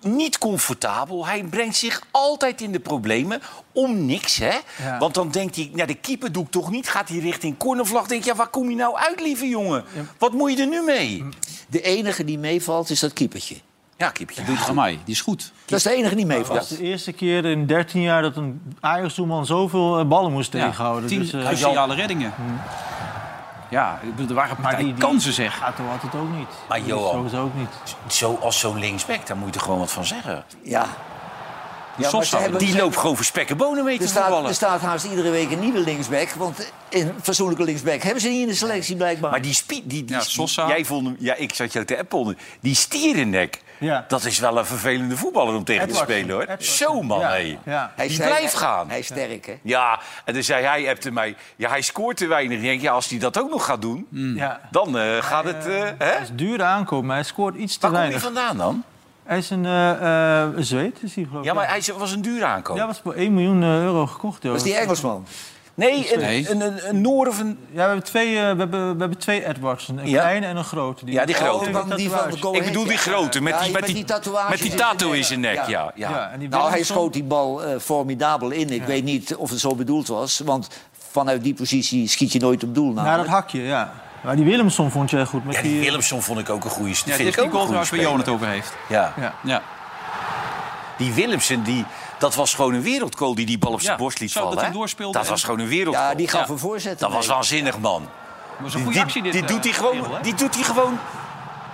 Speaker 2: niet comfortabel. Hij brengt zich altijd in de problemen. Om niks, hè?
Speaker 4: Ja.
Speaker 2: Want dan denkt hij, nou, de keeper doe ik toch niet. Gaat hij richting cornervlag. Denk je, ja, waar kom je nou uit, lieve jongen? Wat moet je er nu mee?
Speaker 3: De enige die meevalt is dat keepertje.
Speaker 2: Ja, keepertje, doe
Speaker 1: Doe
Speaker 2: het
Speaker 1: het
Speaker 2: gewoon.
Speaker 1: aan mij, die is goed.
Speaker 3: Dat is de enige die
Speaker 4: Dat is
Speaker 3: meevalt.
Speaker 4: de eerste keer in 13 jaar dat een Ajax-doelman zoveel eh, ballen moest
Speaker 1: Ja,
Speaker 4: tegenhouden.
Speaker 1: 10
Speaker 4: Dus, eh,
Speaker 1: cruciale reddingen. Ja, ik bedoel, er waren
Speaker 4: maar
Speaker 1: partijen kansen zeg.
Speaker 4: Gato had het ook niet.
Speaker 2: Maar
Speaker 4: Dus
Speaker 2: Johan-
Speaker 4: Zo is het ook niet.
Speaker 2: Zo, als zo'n linksback, daar moet je er gewoon wat van zeggen.
Speaker 3: Ja.
Speaker 1: Die
Speaker 3: maar
Speaker 1: Sosa,
Speaker 3: ze hebben-
Speaker 2: Die loopt gewoon voor spek en bonen mee te
Speaker 3: Er staat,
Speaker 2: voetballen.
Speaker 3: er staat haast iedere week een nieuwe linksback. Want een fatsoenlijke linksback hebben ze niet in de selectie blijkbaar.
Speaker 2: Maar die spie, die, die
Speaker 1: Ja,
Speaker 2: spie-
Speaker 1: Sosa.
Speaker 2: jij vond hem, ja, ik zat jou te appen. Die stierennek,
Speaker 4: Ja.
Speaker 2: dat is wel een vervelende voetballer om tegen
Speaker 4: Edwards.
Speaker 2: te spelen, hoor.
Speaker 4: Edwards.
Speaker 2: Zo, man,
Speaker 4: Ja.
Speaker 2: hé.
Speaker 4: Ja.
Speaker 3: hij
Speaker 2: die
Speaker 3: zei-
Speaker 2: blijft gaan.
Speaker 3: Hij is sterk, hè?
Speaker 2: Ja, en dan zei hij, appte mij, ja, hij scoort te weinig. Ik denk, ja, als hij dat ook nog gaat doen,
Speaker 4: Ja.
Speaker 2: dan eh, gaat het... eh, hè?
Speaker 4: Het Hmm. is dure aankoop, maar hij scoort iets te
Speaker 2: Waar kom je
Speaker 4: weinig.
Speaker 2: vandaan dan?
Speaker 4: Hij is een eh, eh, een Zweed, is hij geloof ik.
Speaker 2: Ja, maar hij is- was een dure aankoop.
Speaker 4: Ja, was voor 1 miljoen eh, euro gekocht. Joh.
Speaker 3: Dat is die Engelsman.
Speaker 2: nee, een,
Speaker 1: Nee.
Speaker 2: Een, een, een Noor of een...
Speaker 4: Ja, we hebben twee, eh, we hebben, we hebben twee Edwards. Een
Speaker 2: Ja.
Speaker 4: kleine en een grote.
Speaker 2: Ja, die grote.
Speaker 3: Oh, dan die van de Go
Speaker 2: Ik bedoel die
Speaker 3: Ahead, ja.
Speaker 2: grote, met
Speaker 3: Ja,
Speaker 2: die, met die,
Speaker 3: tatoeage.
Speaker 2: met die tattoo in zijn nek, ja. ja.
Speaker 4: Ja, en die
Speaker 3: Nou, hij
Speaker 4: Willemson-
Speaker 3: schoot die bal eh, formidabel in. Ik weet niet of het zo bedoeld was. Want vanuit die positie schiet je nooit op doel.
Speaker 4: Ja,
Speaker 3: namelijk.
Speaker 4: dat hakje, ja. Maar die Willemson vond je goed. Met
Speaker 2: Ja, die
Speaker 4: die,
Speaker 2: Willemson vond ik ook een goede
Speaker 1: Ja,
Speaker 2: speler.
Speaker 1: dit is die goal waar Johan het over heeft.
Speaker 2: Ja.
Speaker 4: Ja.
Speaker 1: Ja.
Speaker 2: Die Willemsen, die, dat was gewoon een wereldkool die die bal op zijn
Speaker 1: Ja,
Speaker 2: borst liet
Speaker 1: zo dat
Speaker 2: vallen.
Speaker 1: hij
Speaker 2: hè?
Speaker 1: doorspeelde
Speaker 2: dat
Speaker 1: en-
Speaker 2: was gewoon een wereldkool.
Speaker 3: Ja, die gaf
Speaker 1: Ja.
Speaker 3: een voorzet.
Speaker 2: Dat was
Speaker 3: erbij.
Speaker 2: waanzinnig, man.
Speaker 1: Maar was een
Speaker 2: Die,
Speaker 1: goede actie dit.
Speaker 2: die
Speaker 1: eh,
Speaker 2: doet hij
Speaker 1: kerel,
Speaker 2: gewoon,
Speaker 1: hè?
Speaker 2: die doet hij gewoon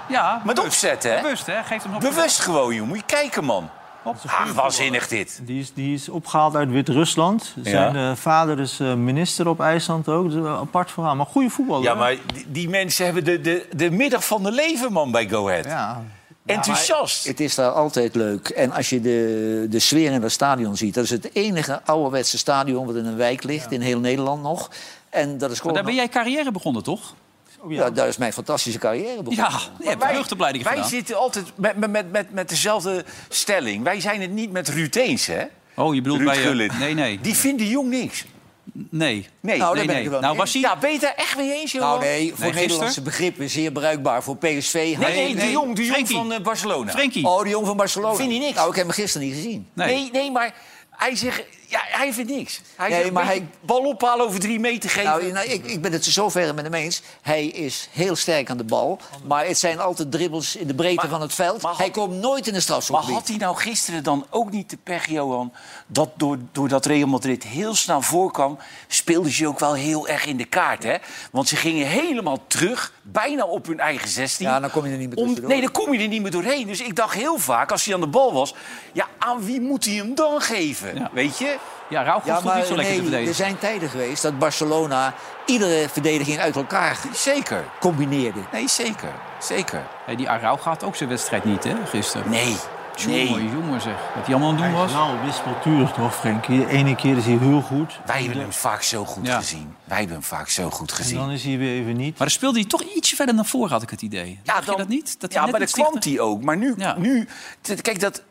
Speaker 1: ja,
Speaker 2: met
Speaker 1: bewust.
Speaker 2: opzet, hè?
Speaker 1: Bewust, hè? Geeft hem nog
Speaker 2: Bewust gewoon, joh. Moet je kijken, man.
Speaker 4: Hop.
Speaker 2: Ah, waanzinnig dit.
Speaker 4: die, is, die is opgehaald uit Wit-Rusland. Zijn eh, vader is eh, minister op IJsland ook. Dus een apart verhaal. Maar goede voetballer.
Speaker 2: Ja,
Speaker 4: hè?
Speaker 2: maar die, die mensen hebben de, de, de middag van de leven, man, bij Go Ahead.
Speaker 4: Ja.
Speaker 2: Enthousiast.
Speaker 3: Het is daar altijd leuk. En als je de, de sfeer in dat stadion ziet... dat is het enige ouderwetse stadion wat in een wijk ligt... in heel Nederland nog. En dat is
Speaker 1: Maar
Speaker 3: gewoon...
Speaker 1: daar ben jij carrière begonnen, toch?
Speaker 4: Oh,
Speaker 3: ja, daar is mijn fantastische carrière begonnen.
Speaker 1: Ja, je hebt
Speaker 2: Wij-
Speaker 1: jeugdopleiding
Speaker 2: wij
Speaker 1: gedaan.
Speaker 2: zitten altijd met, met- met, met, met dezelfde stelling. Wij zijn het niet met Ruud eens, hè?
Speaker 1: Oh, je bedoelt
Speaker 2: Ruud
Speaker 1: bij... eh,
Speaker 2: Gullit.
Speaker 1: nee, nee.
Speaker 2: Die vindt de jong niks.
Speaker 1: Nee. nee,
Speaker 3: Nou,
Speaker 2: Nee.
Speaker 3: daar ben
Speaker 1: nee.
Speaker 3: ik het wel
Speaker 1: Nou,
Speaker 3: mee
Speaker 1: was hij...
Speaker 2: Ja, beter echt mee eens, joh.
Speaker 3: Nou nee, voor
Speaker 1: gisteren?
Speaker 3: Nederlandse begrippen zeer bruikbaar. Voor PSV...
Speaker 2: Nee, nee,
Speaker 1: Nee,
Speaker 2: de
Speaker 1: nee.
Speaker 2: jong, de jong
Speaker 1: Frenkie.
Speaker 2: van eh, Barcelona.
Speaker 1: Frenkie.
Speaker 3: Oh, de jong van Barcelona.
Speaker 2: Vind je niks?
Speaker 3: Nou, ik heb hem gisteren niet gezien.
Speaker 1: Nee.
Speaker 2: Nee. nee, maar hij zegt... Ja, hij vindt niks. Hij
Speaker 3: Nee,
Speaker 2: zegt,
Speaker 3: maar
Speaker 2: weet
Speaker 3: hij-
Speaker 2: je, bal ophalen over drie meter geven.
Speaker 3: Nou, nou, ik, ik ben het zover met hem eens. Hij is heel sterk aan de bal. Maar het zijn altijd dribbels in de breedte
Speaker 2: Maar-
Speaker 3: van het veld.
Speaker 2: maar had-
Speaker 3: hij komt nooit in de
Speaker 2: maar
Speaker 3: strafschopgebied.
Speaker 2: had hij nou gisteren dan ook niet de pech, Johan... dat door, doordat Real Madrid heel snel voorkwam... speelden ze ook wel heel erg in de kaart, hè? Want ze gingen helemaal terug, bijna op hun eigen 16.
Speaker 3: Ja, dan kom je er niet meer
Speaker 2: Om-
Speaker 3: tussendoor.
Speaker 2: Nee, dan kom je er niet meer doorheen. Dus ik dacht heel vaak, als hij aan de bal was... ja, aan wie moet hij hem dan geven,
Speaker 1: Ja.
Speaker 2: weet je?
Speaker 1: Ja, Rauw
Speaker 3: Ja,
Speaker 1: ja,
Speaker 3: maar
Speaker 1: niet zo lekker
Speaker 3: nee, dus-
Speaker 1: te
Speaker 3: er
Speaker 1: verdedigen.
Speaker 3: zijn tijden geweest dat Barcelona iedere verdediging uit elkaar
Speaker 2: Zeker.
Speaker 3: combineerde.
Speaker 2: Nee, zeker. Zeker.
Speaker 1: Hey, die Arau gaat ook zijn wedstrijd niet, hè, gisteren.
Speaker 2: Nee.
Speaker 1: Jongen,
Speaker 2: Nee.
Speaker 1: jongen zeg. Wat hij allemaal aan het doen was.
Speaker 4: nou wispelturig toch, Frenkie? De ene keer is hij heel goed.
Speaker 2: Wij hebben hem vaak zo goed
Speaker 1: Ja.
Speaker 2: gezien. Wij hebben hem vaak zo goed
Speaker 4: En
Speaker 2: gezien.
Speaker 4: dan is hij weer even niet.
Speaker 1: Maar dan speelde hij toch ietsje verder naar voren, had ik het idee. Dacht je dat niet? Dat hij
Speaker 2: ja,
Speaker 1: net
Speaker 2: maar dan
Speaker 1: iets
Speaker 2: kwam
Speaker 1: dichter-
Speaker 2: hij ook. Maar nu,
Speaker 1: Ja.
Speaker 2: nu t- kijk, dat,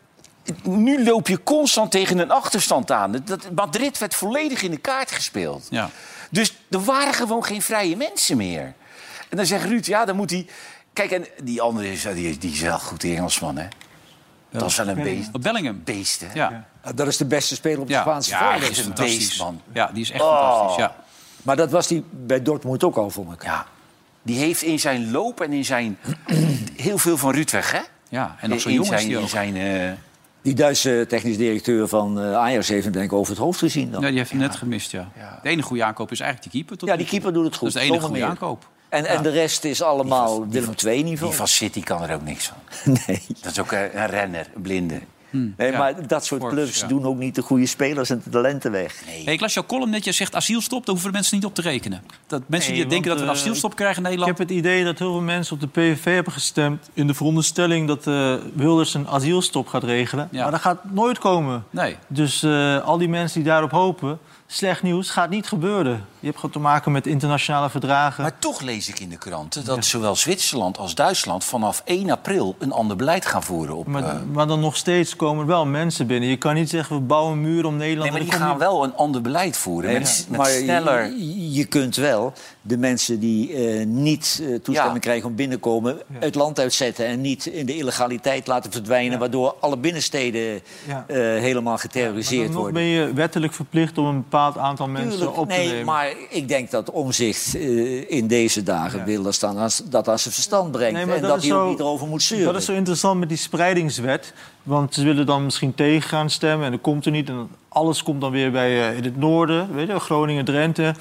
Speaker 2: nu loop je constant tegen een achterstand aan. Dat- Dat, Madrid werd volledig in de kaart gespeeld.
Speaker 1: Ja.
Speaker 2: Dus er waren gewoon geen vrije mensen meer. En dan zegt Ruud, ja, dan moet hij... Kijk, en die andere is, die, is- die is wel goed die Engelsman, hè? Dat is wel een beest,
Speaker 1: Op Bellingham.
Speaker 2: beest hè?
Speaker 1: Ja.
Speaker 3: Nou, Dat is de beste speler op de
Speaker 1: Ja.
Speaker 3: Spaanse
Speaker 2: Ja,
Speaker 3: voorhoede.
Speaker 2: hij is een
Speaker 1: Fantastisch.
Speaker 2: beest, man.
Speaker 1: Ja, die is echt
Speaker 2: Oh.
Speaker 1: fantastisch. Ja.
Speaker 3: Maar dat was die bij Dortmund ook al, vond ik.
Speaker 2: Ja. Die heeft in zijn loop en in zijn... [CLEARS THROAT] heel veel van Ruud weg, hè?
Speaker 1: ja, en nog zo'n
Speaker 2: In
Speaker 1: jongen is
Speaker 2: zijn-
Speaker 1: die
Speaker 2: in
Speaker 1: ook.
Speaker 2: zijn, eh,
Speaker 3: Die Duitse technisch directeur van eh, Ajax heeft hem denk ik over het hoofd gezien dan.
Speaker 1: Ja, die heeft hem net gemist, ja. De enige goede aankoop is eigenlijk die keeper. Tot
Speaker 3: Oh.
Speaker 1: nu
Speaker 3: Ja, die
Speaker 1: toe.
Speaker 3: keeper doet het goed.
Speaker 1: Dat is de enige
Speaker 3: Zonder
Speaker 1: goede
Speaker 3: meer.
Speaker 1: aankoop.
Speaker 3: En, en de rest is allemaal Willem II
Speaker 2: Die
Speaker 3: niveau.
Speaker 2: van City kan er ook niks van.
Speaker 3: [LAUGHS] Nee,
Speaker 2: Dat is ook eh, een renner, een blinde.
Speaker 3: nee
Speaker 1: Ja.
Speaker 3: maar dat soort
Speaker 1: Forbes,
Speaker 3: clubs
Speaker 1: ja.
Speaker 3: doen ook niet de goede spelers en de talenten weg.
Speaker 1: Hey, ik las jouw column net, je zegt asielstop, daar hoeven de mensen niet op te rekenen. Dat mensen
Speaker 4: Nee,
Speaker 1: die denken
Speaker 4: want,
Speaker 1: dat we een
Speaker 4: eh,
Speaker 1: asielstop krijgen in
Speaker 4: Ik
Speaker 1: Nederland...
Speaker 4: heb het idee dat heel veel mensen op de PVV hebben gestemd... in de veronderstelling dat eh, Wilders een asielstop gaat regelen.
Speaker 1: Ja.
Speaker 4: Maar dat gaat nooit komen.
Speaker 1: Nee.
Speaker 4: Dus eh, al die mensen die daarop hopen... slecht nieuws, gaat niet gebeuren. Je hebt gewoon te maken met internationale verdragen.
Speaker 2: Maar toch lees ik in de kranten dat zowel Zwitserland als Duitsland vanaf 1 april een ander beleid gaan voeren. Op,
Speaker 4: Maar,
Speaker 2: eh,
Speaker 4: maar dan nog steeds komen er wel mensen binnen. Je kan niet zeggen, we bouwen een muur om Nederland...
Speaker 2: nee, maar
Speaker 4: en
Speaker 2: die
Speaker 4: dan
Speaker 2: gaan
Speaker 4: kom je-
Speaker 2: wel een ander beleid voeren.
Speaker 3: Nee,
Speaker 2: met met
Speaker 3: maar je-
Speaker 2: sneller.
Speaker 3: Je, je kunt wel de mensen die eh, niet eh, toestemming
Speaker 2: Ja.
Speaker 3: krijgen om binnenkomen... het land uitzetten en niet in de illegaliteit laten verdwijnen... waardoor alle binnensteden
Speaker 4: Ja.
Speaker 3: eh, helemaal geterroriseerd
Speaker 4: Dan nog
Speaker 3: worden.
Speaker 4: ben je wettelijk verplicht om een bepaald aantal mensen
Speaker 3: Tuurlijk,
Speaker 4: op te
Speaker 3: nee,
Speaker 4: nemen.
Speaker 3: maar ik denk dat omzicht eh, in deze dagen Wilders dan aan, dat aan zijn verstand brengt.
Speaker 4: Nee, maar
Speaker 3: en dat,
Speaker 4: dat is
Speaker 3: hij ook
Speaker 4: zo-
Speaker 3: niet erover moet zeuren.
Speaker 4: Dat is zo interessant met die spreidingswet. Want ze willen dan misschien tegen gaan stemmen en dat komt er niet. En alles komt dan weer bij eh, in het noorden, weet je, wel, Groningen, Drenthe.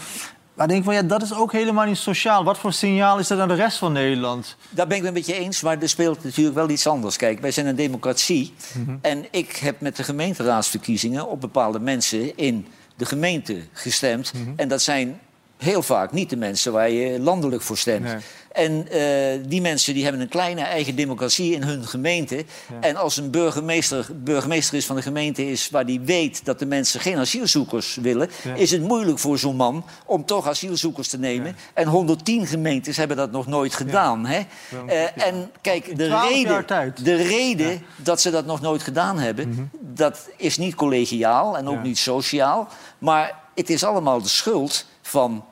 Speaker 4: Maar ik denk van ja, dat is ook helemaal niet sociaal. Wat voor signaal is dat aan de rest van Nederland?
Speaker 3: Daar ben ik het met je eens, maar er speelt natuurlijk wel iets anders. Kijk, wij zijn een democratie. En ik heb met de gemeenteraadsverkiezingen op bepaalde mensen in de gemeente gestemd. En dat zijn heel vaak niet de mensen waar je landelijk voor stemt.
Speaker 4: Nee.
Speaker 3: En eh, die mensen die hebben een kleine eigen democratie in hun gemeente. En als een burgemeester burgemeester is van de gemeente is waar die weet dat de mensen geen asielzoekers willen,
Speaker 4: Ja.
Speaker 3: is het moeilijk voor zo'n man om toch asielzoekers te nemen. En 110 gemeentes hebben dat nog nooit gedaan. Hè? Eh, en kijk, de
Speaker 4: 12
Speaker 3: reden,
Speaker 4: jaar tijd. Mhm.
Speaker 3: de reden dat ze dat nog nooit gedaan hebben, dat is niet collegiaal en ook
Speaker 4: Ja.
Speaker 3: niet sociaal. Maar het is allemaal de schuld van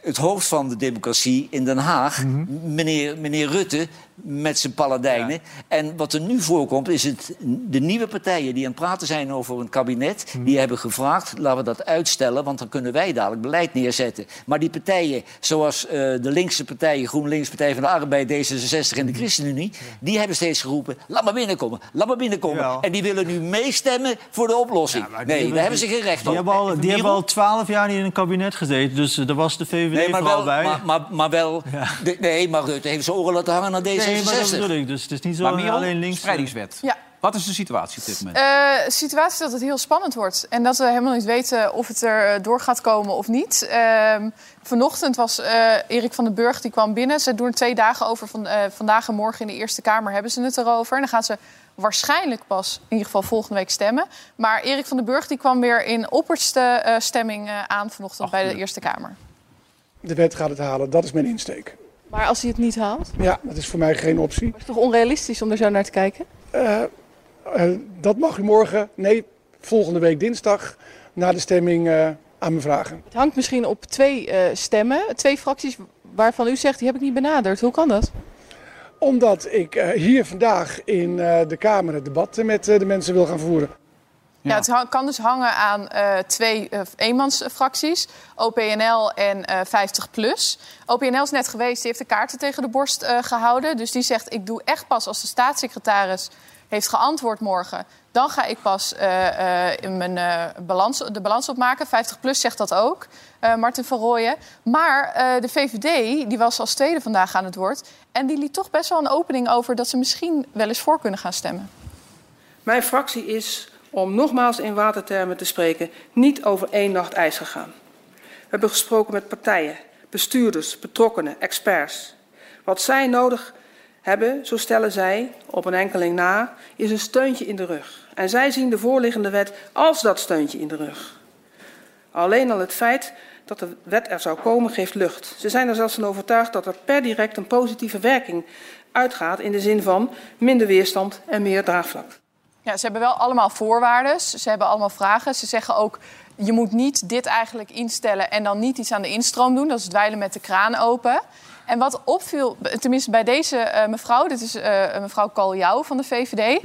Speaker 3: het hoofd van de democratie in Den Haag,
Speaker 4: Mhm.
Speaker 3: meneer, meneer Rutte met zijn paladijnen. En wat er nu voorkomt, is het de nieuwe partijen die aan het praten zijn over een kabinet.
Speaker 4: Mhm.
Speaker 3: Die hebben gevraagd, laten we dat uitstellen, want dan kunnen wij dadelijk beleid neerzetten. Maar die partijen, zoals eh, de linkse partijen, GroenLinks, Partij van de Arbeid, D66
Speaker 4: Mhm.
Speaker 3: en de ChristenUnie... die hebben steeds geroepen, laat maar binnenkomen, laat maar binnenkomen.
Speaker 4: Ja,
Speaker 3: En die willen nu meestemmen voor de oplossing.
Speaker 4: maar die
Speaker 3: nee,
Speaker 4: hebben-
Speaker 3: daar hebben ze geen recht
Speaker 4: Die
Speaker 3: op.
Speaker 4: hebben al, die hebben al twaalf jaar niet in een kabinet gezeten. Dus eh, daar was de VVD
Speaker 3: Nee, maar wel,
Speaker 4: vooral bij.
Speaker 3: maar, maar, maar
Speaker 4: [LAUGHS]
Speaker 3: wel de- nee, maar Rutte heeft zijn oren laten hangen naar D66.
Speaker 4: nee, maar dat bedoel ik. Dus het is niet zo
Speaker 1: Maar meer
Speaker 4: alleen links. eh,
Speaker 1: spreidingswet.
Speaker 5: Ja.
Speaker 1: Wat is de situatie op dit moment?
Speaker 5: Eh, situatie dat het heel spannend wordt. En dat we helemaal niet weten of het er eh, door gaat komen of niet. Ehm, vanochtend was eh, Erik van den Burg, die kwam binnen. Ze doen er twee dagen over. Van, eh, vandaag en morgen in de Eerste Kamer hebben ze het erover. En dan gaan ze waarschijnlijk pas, in ieder geval volgende week, stemmen. Maar Erik van den Burg die kwam weer in opperste eh, stemming eh, aan vanochtend bij de Eerste Kamer.
Speaker 6: De wet gaat het halen, dat is mijn insteek.
Speaker 7: Maar als hij het niet haalt, maar
Speaker 6: Ja, dat is voor mij geen optie.
Speaker 7: het is toch onrealistisch om er zo naar te kijken?
Speaker 6: Eh, eh, dat mag u morgen, nee, volgende week dinsdag, na de stemming eh, aan me vragen.
Speaker 7: Het hangt misschien op twee eh, stemmen, twee fracties waarvan u zegt die heb ik niet benaderd. Hoe kan dat?
Speaker 6: Omdat ik eh, hier vandaag in eh, de Kamer het debat eh, met eh, de mensen wil gaan voeren.
Speaker 5: Ja. het hang- kan dus hangen aan eh, twee eh, eenmansfracties, OPNL en eh 50PLUS. OPNL is net geweest, die heeft de kaarten tegen de borst eh, gehouden. Dus die zegt, ik doe echt pas als de staatssecretaris heeft geantwoord morgen... dan ga ik pas eh, eh, in mijn, eh, balans, de balans opmaken. 50PLUS zegt dat ook, eh, Martin van Rooyen. Maar eh, de VVD, die was als tweede vandaag aan het woord... en die liet toch best wel een opening over dat ze misschien wel eens voor kunnen gaan stemmen.
Speaker 8: Mijn fractie is om nogmaals in watertermen te spreken, niet over één nacht ijs gegaan. We hebben gesproken met partijen, bestuurders, betrokkenen, experts. Wat zij nodig hebben, zo stellen zij, op een enkeling na, is een steuntje in de rug. En zij zien de voorliggende wet als dat steuntje in de rug. Alleen al het feit dat de wet er zou komen geeft lucht. Ze zijn er zelfs van overtuigd dat er per direct een positieve werking uitgaat in de zin van minder weerstand en meer draagvlak.
Speaker 5: Ja, ze hebben wel allemaal voorwaarden. Ze hebben allemaal vragen. Ze zeggen ook, je moet niet dit eigenlijk instellen... en dan niet iets aan de instroom doen. Dat is het dweilen met de kraan open. En wat opviel, tenminste bij deze eh, mevrouw... dit is eh, mevrouw Kaljouw van de VVD...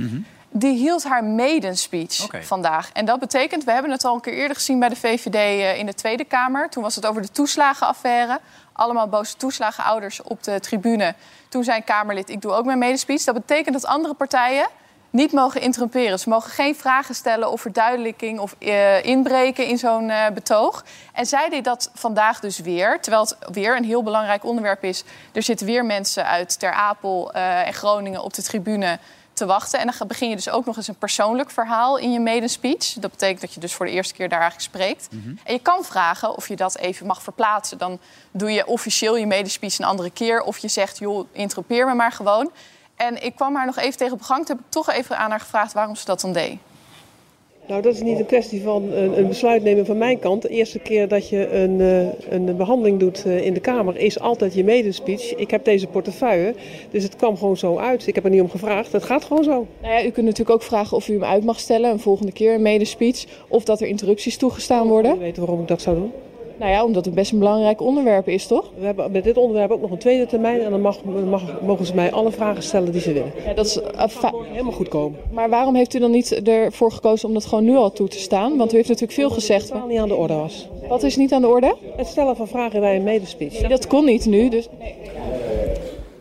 Speaker 5: die hield haar maiden speech
Speaker 1: Oké.
Speaker 5: vandaag. En dat betekent, we hebben het al een keer eerder gezien... bij de VVD eh, in de Tweede Kamer. Toen was het over de toeslagenaffaire. Allemaal boze toeslagenouders op de tribune. Toen zei een Kamerlid, ik doe ook mijn medespeech. Dat betekent dat andere partijen niet mogen interrumperen. Ze mogen geen vragen stellen of verduidelijking of eh, inbreken in zo'n eh, betoog. En zij deed dat vandaag dus weer. Terwijl het weer een heel belangrijk onderwerp is. Er zitten weer mensen uit Ter Apel eh, en Groningen op de tribune te wachten. En dan ga- begin je dus ook nog eens een persoonlijk verhaal in je medespeech. Dat betekent dat je dus voor de eerste keer daar eigenlijk spreekt. En je kan vragen of je dat even mag verplaatsen. Dan doe je officieel je medespeech een andere keer. Of je zegt, joh, interrumpeer me maar gewoon. En ik kwam haar nog even tegen op de gang. Toen heb ik toch even aan haar gevraagd waarom ze dat dan deed.
Speaker 8: Nou, dat is niet een kwestie van een, een besluit nemen van mijn kant. De eerste keer dat je een, eh, een behandeling doet eh, in de Kamer is altijd je medespeech. Ik heb deze portefeuille, dus het kwam gewoon zo uit. Ik heb er niet om gevraagd, het gaat gewoon zo.
Speaker 7: Nou ja, u kunt natuurlijk ook vragen of u hem uit mag stellen, een volgende keer een medespeech, of dat er interrupties toegestaan worden.
Speaker 8: Ik weet waarom ik dat zou doen.
Speaker 7: Nou ja, omdat het best een belangrijk onderwerp is, toch?
Speaker 8: We hebben met dit onderwerp ook nog een tweede termijn en dan mag, mag- mogen ze mij alle vragen stellen die ze willen.
Speaker 7: Ja, dat is, eh, fa-
Speaker 8: Helemaal goed komen.
Speaker 7: maar waarom heeft u dan niet ervoor gekozen om dat gewoon nu al toe te staan? Want u heeft natuurlijk veel gezegd.
Speaker 8: Totaal niet aan de orde was.
Speaker 7: Wat is niet aan de orde?
Speaker 8: Het stellen van vragen bij een medespeech.
Speaker 7: Dat kon niet nu, dus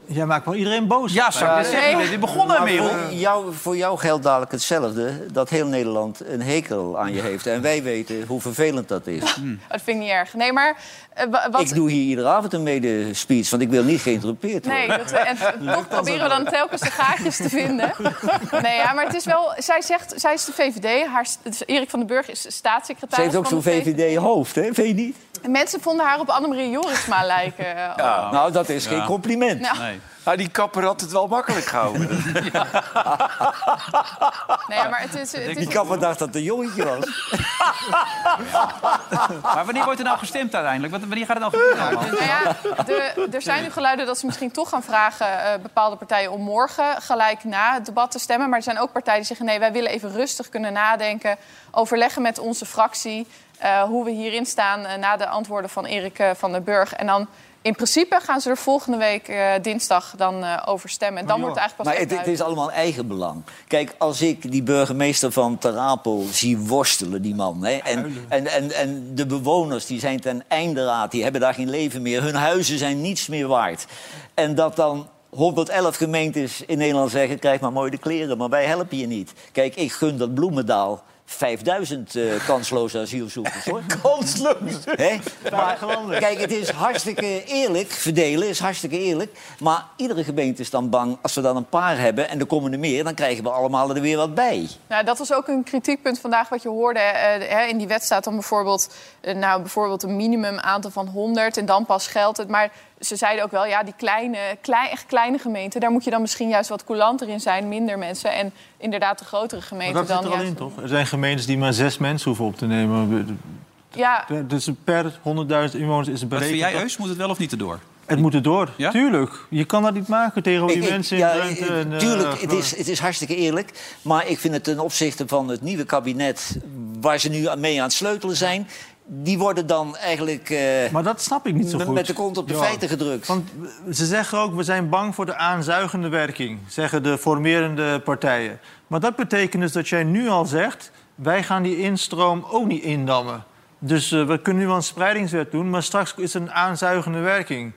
Speaker 4: Jij maakt wel iedereen boos.
Speaker 1: Ja, zou ik net
Speaker 5: nee.
Speaker 1: zeggen. Dit begon er,
Speaker 3: Maar
Speaker 1: Merel.
Speaker 3: voor jou, voor jou geldt dadelijk hetzelfde. Dat heel Nederland een hekel aan je heeft. En wij weten hoe vervelend dat is.
Speaker 5: Oh, dat vind ik niet erg. Nee, maar eh, wa- wat...
Speaker 3: Ik doe hier iedere avond een mede-speech, want ik wil niet geïnterrumpeerd worden.
Speaker 5: Nee,
Speaker 3: [LAUGHS]
Speaker 5: dat, en toch proberen we dan telkens de gaatjes te vinden. Nee, ja, maar het is wel... Zij, zegt, zij is de VVD. Haar, st- dus Erik van den Burg is de staatssecretaris
Speaker 3: Ze heeft ook
Speaker 5: van
Speaker 3: zo'n
Speaker 5: de VVD.
Speaker 3: VVD-hoofd, hè? Vind je niet?
Speaker 5: En mensen vonden haar op Annemarie Jorisma lijken. eh, al.
Speaker 3: Nou, dat is geen compliment.
Speaker 5: Nou,
Speaker 1: Nee.
Speaker 2: Nou, die kapper had het wel makkelijk gehouden.
Speaker 5: nee, maar het is... Het is
Speaker 3: Die kapper dacht dat het een jongetje was.
Speaker 1: Maar wanneer wordt er nou gestemd uiteindelijk? Wat- Wanneer gaat het nou gebeuren? allemaal?
Speaker 5: Nou ja, de- er zijn nu geluiden dat ze misschien toch gaan vragen... eh, bepaalde partijen om morgen gelijk na het debat te stemmen. Maar er zijn ook partijen die zeggen... nee, wij willen even rustig kunnen nadenken. Overleggen met onze fractie eh, hoe we hierin staan... eh, na de antwoorden van Erik eh, van den Burg. En dan in principe gaan ze er volgende week eh, dinsdag dan eh over stemmen. En dan wordt het eigenlijk
Speaker 3: Maar
Speaker 5: pas echt
Speaker 3: het, het
Speaker 5: duidelijk.
Speaker 3: is allemaal eigenbelang. Kijk, als ik die burgemeester van Ter Apel zie worstelen, die man... Hè, en, en, en, en de bewoners, die zijn ten einde raad, die hebben daar geen leven meer. Hun huizen zijn niets meer waard. En dat dan 111 gemeentes in Nederland zeggen... krijg maar mooi de kleren, maar wij helpen je niet. Kijk, ik gun dat Bloemendaal 5000 eh, kansloze asielzoekers, hoor.
Speaker 2: Kansloos.
Speaker 3: Hè? Maar,
Speaker 4: Veilige landen.
Speaker 3: kijk, het is hartstikke eerlijk. Verdelen is hartstikke eerlijk. Maar iedere gemeente is dan bang. Als we dan een paar hebben en er komen er meer... dan krijgen we allemaal er weer wat bij.
Speaker 5: Nou, dat was ook een kritiekpunt vandaag wat je hoorde. eh, de- hè, in die wet staat dan bijvoorbeeld, eh, nou, bijvoorbeeld een minimum aantal van 100 en dan pas geldt het. Maar ze zeiden ook wel, ja, die kleine, klei- echt kleine gemeenten, daar moet je dan misschien juist wat coulanter in zijn, minder mensen. En inderdaad, de grotere
Speaker 4: Maar
Speaker 5: gemeenten
Speaker 4: dat
Speaker 5: dan.
Speaker 4: zit er al
Speaker 5: juist-
Speaker 4: in, toch? Er zijn gemeentes die maar zes mensen hoeven op te nemen.
Speaker 5: Ja,
Speaker 4: Dus per 100.000 inwoners is het
Speaker 1: Wat vind
Speaker 4: berekend.
Speaker 1: jij,
Speaker 4: dat-
Speaker 1: Eus? Moet het wel of niet erdoor?
Speaker 4: Het moet erdoor,
Speaker 1: Ja?
Speaker 4: tuurlijk. Je kan dat niet maken tegen die
Speaker 3: Ik- ik-
Speaker 4: mensen
Speaker 3: ja,
Speaker 4: in Drenthe
Speaker 3: eh,
Speaker 4: en, eh,
Speaker 3: Tuurlijk, het is, het is hartstikke eerlijk. Maar ik vind het ten opzichte van het nieuwe kabinet... waar ze nu aan- mee aan het sleutelen zijn... die worden dan eigenlijk eh,
Speaker 4: Maar dat snap ik niet zo
Speaker 3: met,
Speaker 4: goed.
Speaker 3: met de kont op de
Speaker 4: Ja.
Speaker 3: feiten gedrukt.
Speaker 4: Want ze zeggen ook, we zijn bang voor de aanzuigende werking, zeggen de formerende partijen. Maar dat betekent dus dat jij nu al zegt, wij gaan die instroom ook niet indammen. Dus eh, we kunnen nu wel een spreidingswet doen, maar straks is er een aanzuigende werking.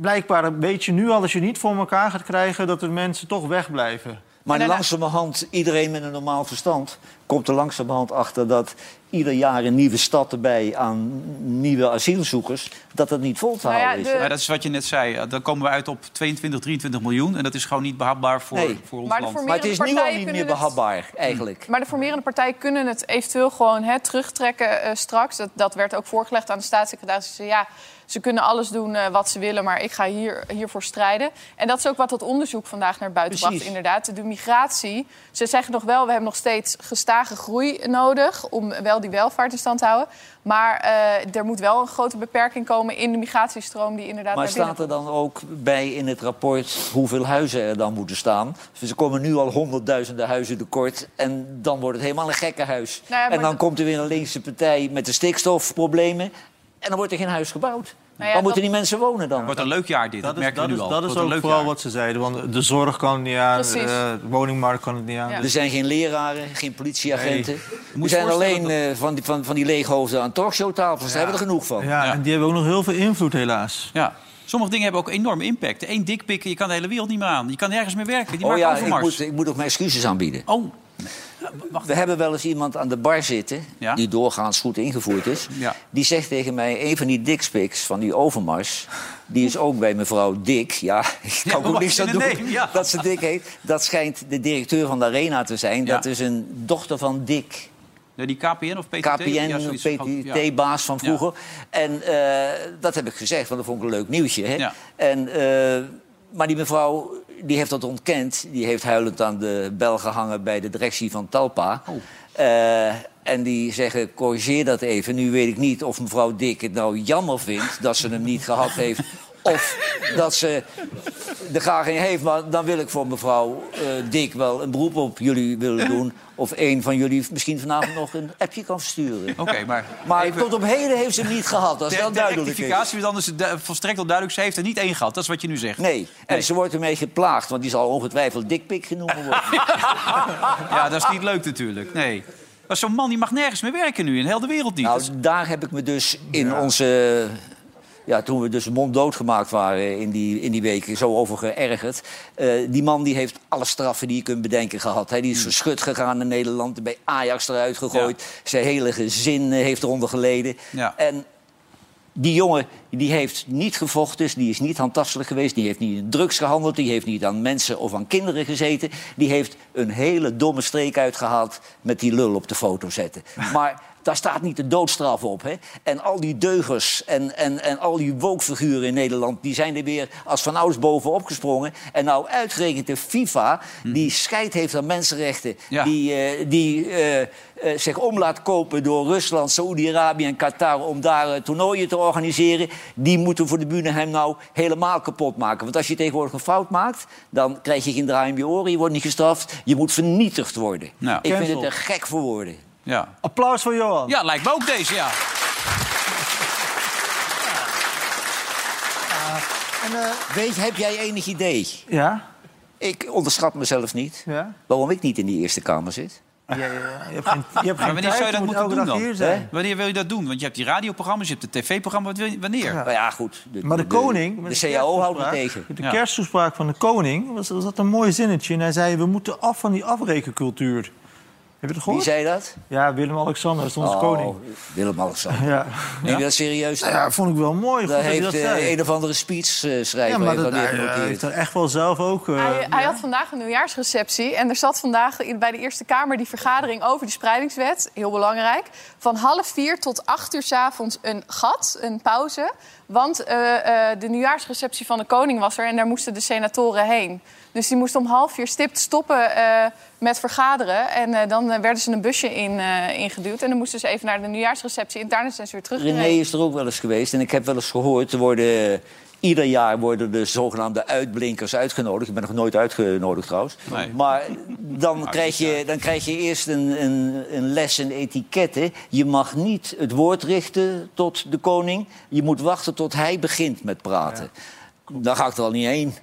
Speaker 4: Blijkbaar weet je nu al, als je niet voor elkaar gaat krijgen, dat er mensen toch wegblijven.
Speaker 3: Maar
Speaker 5: daarna-
Speaker 3: langzamerhand, iedereen met een normaal verstand komt er langzamerhand achter dat ieder jaar een nieuwe stad erbij aan nieuwe asielzoekers, dat dat niet vol te
Speaker 5: Nou ja,
Speaker 3: houden is.
Speaker 5: de-
Speaker 1: Ja, dat is wat je net zei. Eh, Dan komen we uit op 22, 23 miljoen. En dat is gewoon niet behapbaar voor,
Speaker 3: Nee.
Speaker 1: voor ons
Speaker 5: Maar de
Speaker 1: land.
Speaker 5: forme-
Speaker 3: Maar het is nu al
Speaker 5: partijen
Speaker 3: niet
Speaker 5: kunnen
Speaker 3: meer
Speaker 5: het-
Speaker 3: behapbaar, eigenlijk.
Speaker 5: Maar de formerende partijen kunnen het eventueel gewoon hè, terugtrekken eh, straks. Dat, dat werd ook voorgelegd aan de staatssecretaris. Ze zei, ja, ze kunnen alles doen eh, wat ze willen, maar ik ga hier, hiervoor strijden. En dat is ook wat dat onderzoek vandaag naar buiten
Speaker 3: Precies.
Speaker 5: bracht, inderdaad. De migratie. Ze zeggen nog wel, we hebben nog steeds gestage groei nodig... om wel die welvaart in stand te houden. Maar eh, er moet wel een grote beperking komen in de migratiestroom... die inderdaad
Speaker 3: Maar
Speaker 5: naar binnen
Speaker 3: staat er dan ook bij in het rapport hoeveel huizen er dan moeten staan? Dus er komen nu al honderdduizenden huizen tekort en dan wordt het helemaal een gekkenhuis.
Speaker 5: Nou ja, maar
Speaker 3: en dan
Speaker 5: dat-
Speaker 3: komt er weer een linkse partij met de stikstofproblemen en dan wordt er geen huis gebouwd.
Speaker 5: Nou ja,
Speaker 3: Waar moeten
Speaker 5: dat-
Speaker 3: die mensen wonen dan?
Speaker 1: wordt een leuk jaar dit, dat,
Speaker 4: Dat is,
Speaker 1: merken
Speaker 4: dat
Speaker 1: we
Speaker 4: is,
Speaker 1: nu al.
Speaker 4: dat is
Speaker 1: Wordt een
Speaker 4: ook
Speaker 1: leuk
Speaker 4: vooral
Speaker 1: jaar.
Speaker 4: wat ze zeiden. Want de zorg kan het niet aan,
Speaker 5: Precies.
Speaker 4: eh, de woningmarkt kan het niet aan.
Speaker 5: Ja.
Speaker 4: Dus
Speaker 3: Er zijn geen leraren, geen politieagenten.
Speaker 1: je
Speaker 3: Er zijn
Speaker 1: voorstellen
Speaker 3: alleen eh, van, die, van, van die leeghoofden aan talkshowtafels. Daar hebben we er genoeg van.
Speaker 4: ja,
Speaker 1: Ja.
Speaker 4: en die hebben ook nog heel veel invloed, helaas.
Speaker 1: Ja. Sommige dingen hebben ook enorm impact. Eén dikpikken, je kan de hele wereld niet meer aan. Je kan nergens meer werken. Die
Speaker 3: oh
Speaker 1: maken
Speaker 3: ja, ik
Speaker 1: overmars.
Speaker 3: moet, ik moet ook mijn excuses aanbieden.
Speaker 1: Oh,
Speaker 3: We hebben wel eens iemand aan de bar zitten,
Speaker 1: Ja.
Speaker 3: die doorgaans goed ingevoerd is.
Speaker 1: Ja.
Speaker 3: Die zegt tegen mij, een van die dikspiks van die Overmars... die is ook bij mevrouw Dik. Ja, ik
Speaker 1: Ja,
Speaker 3: kan
Speaker 1: wat
Speaker 3: ook niks
Speaker 1: je
Speaker 3: aan
Speaker 1: in
Speaker 3: doen
Speaker 1: de neem, ja.
Speaker 3: dat ze dik heet. Dat schijnt de directeur van de Arena te zijn.
Speaker 1: Ja.
Speaker 3: Dat is een dochter van Dik.
Speaker 1: nee, die KPN of PTT? Ja,
Speaker 3: KPN,
Speaker 1: zoiets. Ja.
Speaker 3: PTT-baas van vroeger. En eh, dat heb ik gezegd, want dat vond ik een leuk nieuwtje. Hè?
Speaker 1: Ja.
Speaker 3: En, eh, maar die mevrouw die heeft dat ontkend. Die heeft huilend aan de bel gehangen bij de directie van Talpa.
Speaker 1: Oh.
Speaker 3: Eh, en die zeggen, corrigeer dat even. Nu weet ik niet of mevrouw Dik het nou jammer vindt... dat ze hem niet gehad heeft... of dat ze er graag in heeft. Maar dan wil ik voor mevrouw eh, Dik wel een beroep op jullie willen doen. Of een van jullie misschien vanavond nog een appje kan versturen.
Speaker 1: Oké, maar...
Speaker 3: Maar
Speaker 1: even-
Speaker 3: tot op heden heeft ze hem niet gehad. Dat is
Speaker 1: ter-
Speaker 3: wel
Speaker 1: ter
Speaker 3: duidelijk.
Speaker 1: rectificatie, want anders is het du- volstrekt al duidelijk. Ze heeft er niet één gehad. Dat is wat je nu zegt.
Speaker 3: Nee, en ze wordt ermee geplaagd, want die zal ongetwijfeld dikpik genoemd worden.
Speaker 1: Ja, dat is niet leuk natuurlijk. Nee. Maar zo'n man die mag nergens meer werken nu. In heel de wereld niet. Dat is-
Speaker 3: nou, daar heb ik me dus in onze... Ja, toen we dus monddood gemaakt waren in die, in die week, zo over geërgerd. Eh, die man die heeft alle straffen die je kunt bedenken gehad. Hè. Die is verschut gegaan naar Nederland, bij Ajax eruit gegooid. Zijn hele gezin eh, heeft eronder geleden.
Speaker 1: Ja.
Speaker 3: En Die jongen die heeft niet gevochten, dus die is niet handtastelijk geweest... die heeft niet in drugs gehandeld, die heeft niet aan mensen of aan kinderen gezeten... die heeft een hele domme streek uitgehaald met die lul op de foto zetten. Maar daar staat niet de doodstraf op, hè? En al die deugers en, en, en al die wokfiguren in Nederland... die zijn er weer als van ouds bovenop gesprongen. En nou uitgerekend de FIFA, die scheid heeft aan mensenrechten...
Speaker 1: Ja.
Speaker 3: die die, eh, die eh, eh, zich om laat kopen door Rusland, Saoedi-Arabië en Qatar om daar eh, toernooien te organiseren, die moeten voor de Bunenheim nou helemaal kapot maken. Want als je tegenwoordig een fout maakt, dan krijg je geen draai om je oren, je wordt niet gestraft, je moet vernietigd worden.
Speaker 1: Nou,
Speaker 3: Ik vind
Speaker 4: cancel.
Speaker 3: het er gek voor woorden.
Speaker 1: Ja.
Speaker 4: Applaus voor Johan.
Speaker 1: ja, lijkt me ook deze, ja.
Speaker 3: Weet, heb jij enig idee?
Speaker 4: Ja?
Speaker 3: Ik onderschat mezelf niet.
Speaker 4: Ja?
Speaker 3: Waarom ik niet in die Eerste Kamer zit?
Speaker 4: Ja, ja, ja. Je hebt geen, je hebt geen
Speaker 1: wanneer
Speaker 4: tijd,
Speaker 1: zou je dat
Speaker 4: moet
Speaker 1: moeten
Speaker 4: elke
Speaker 1: doen
Speaker 4: dag
Speaker 1: dan?
Speaker 4: hier zijn.
Speaker 1: Wanneer wil je dat doen? Want je hebt die radioprogramma's, je hebt de tv-programma. Wat wil je- Wanneer?
Speaker 3: Nou ja, goed.
Speaker 4: Maar de koning...
Speaker 3: De,
Speaker 4: met
Speaker 3: CAO houdt me
Speaker 4: kersttoespraak-
Speaker 3: tegen.
Speaker 4: met De
Speaker 1: Ja.
Speaker 4: kersttoespraak van de koning was, was dat een mooi zinnetje. En hij zei, we moeten af van die afrekencultuur. Heb je
Speaker 3: Wie
Speaker 4: het gehoord?
Speaker 3: zei dat?
Speaker 4: Ja, Willem-Alexander, dat is onze
Speaker 3: Oh,
Speaker 4: koning.
Speaker 3: Willem-Alexander.
Speaker 4: Ja.
Speaker 3: Neem je dat serieus?
Speaker 4: Nou ja, vond ik wel mooi. goed
Speaker 3: Daar
Speaker 4: dat hij
Speaker 3: heeft
Speaker 4: dat
Speaker 3: eh,
Speaker 4: zei.
Speaker 3: een of andere eh, speechschrijver
Speaker 4: Ja, maar
Speaker 3: heeft dat
Speaker 4: dat, hij,
Speaker 3: weer
Speaker 4: eh,
Speaker 3: genoteerd.
Speaker 4: heeft er echt wel zelf ook... eh,
Speaker 5: Hij, hij had vandaag een nieuwjaarsreceptie. En er zat vandaag in- bij de Eerste Kamer die vergadering over die spreidingswet. Heel belangrijk. Van half vier tot acht uur 's avonds een gat, een pauze. Want eh, eh, de nieuwjaarsreceptie van de koning was er. En daar moesten de senatoren heen. Dus die moesten om half vier stipt stoppen eh, met vergaderen. En eh, dan eh, werden ze een busje in, eh, ingeduwd. En dan moesten ze even naar de nieuwjaarsreceptie. En daarna zijn ze weer teruggereden.
Speaker 3: René is er ook wel eens geweest. En ik heb wel eens gehoord, er worden, eh, ieder jaar worden de zogenaamde uitblinkers uitgenodigd. Ik ben nog nooit uitgenodigd trouwens.
Speaker 1: Nee.
Speaker 3: Maar dan krijg, je, dan krijg je eerst een, een, een les in etiketten. Je mag niet het woord richten tot de koning. Je moet wachten tot hij begint met praten. Daar ga ik er al niet heen.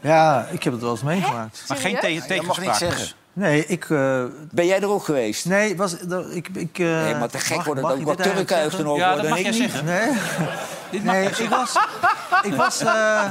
Speaker 4: Ja, ik heb het wel eens meegemaakt.
Speaker 1: Maar geen
Speaker 5: Serieus?
Speaker 1: tegen
Speaker 2: Je mag
Speaker 1: tegenspraak.
Speaker 2: niks zeggen.
Speaker 1: dus.
Speaker 4: Nee, ik... eh,
Speaker 3: Ben jij er ook geweest?
Speaker 4: nee, het was, dat- ik... ik eh,
Speaker 3: Nee, maar te gek
Speaker 4: mag-
Speaker 3: worden
Speaker 4: mag
Speaker 3: dat ook wat
Speaker 4: ik dit eigenlijk
Speaker 3: Turken uitgenodigd
Speaker 1: Ja, dat
Speaker 3: worden.
Speaker 1: mag jij
Speaker 3: en
Speaker 4: [LAUGHS]
Speaker 3: ik niet.
Speaker 1: zeggen.
Speaker 4: Nee,
Speaker 1: Dit mag
Speaker 4: nee
Speaker 1: jij zeggen.
Speaker 4: ik was... Ik was eh,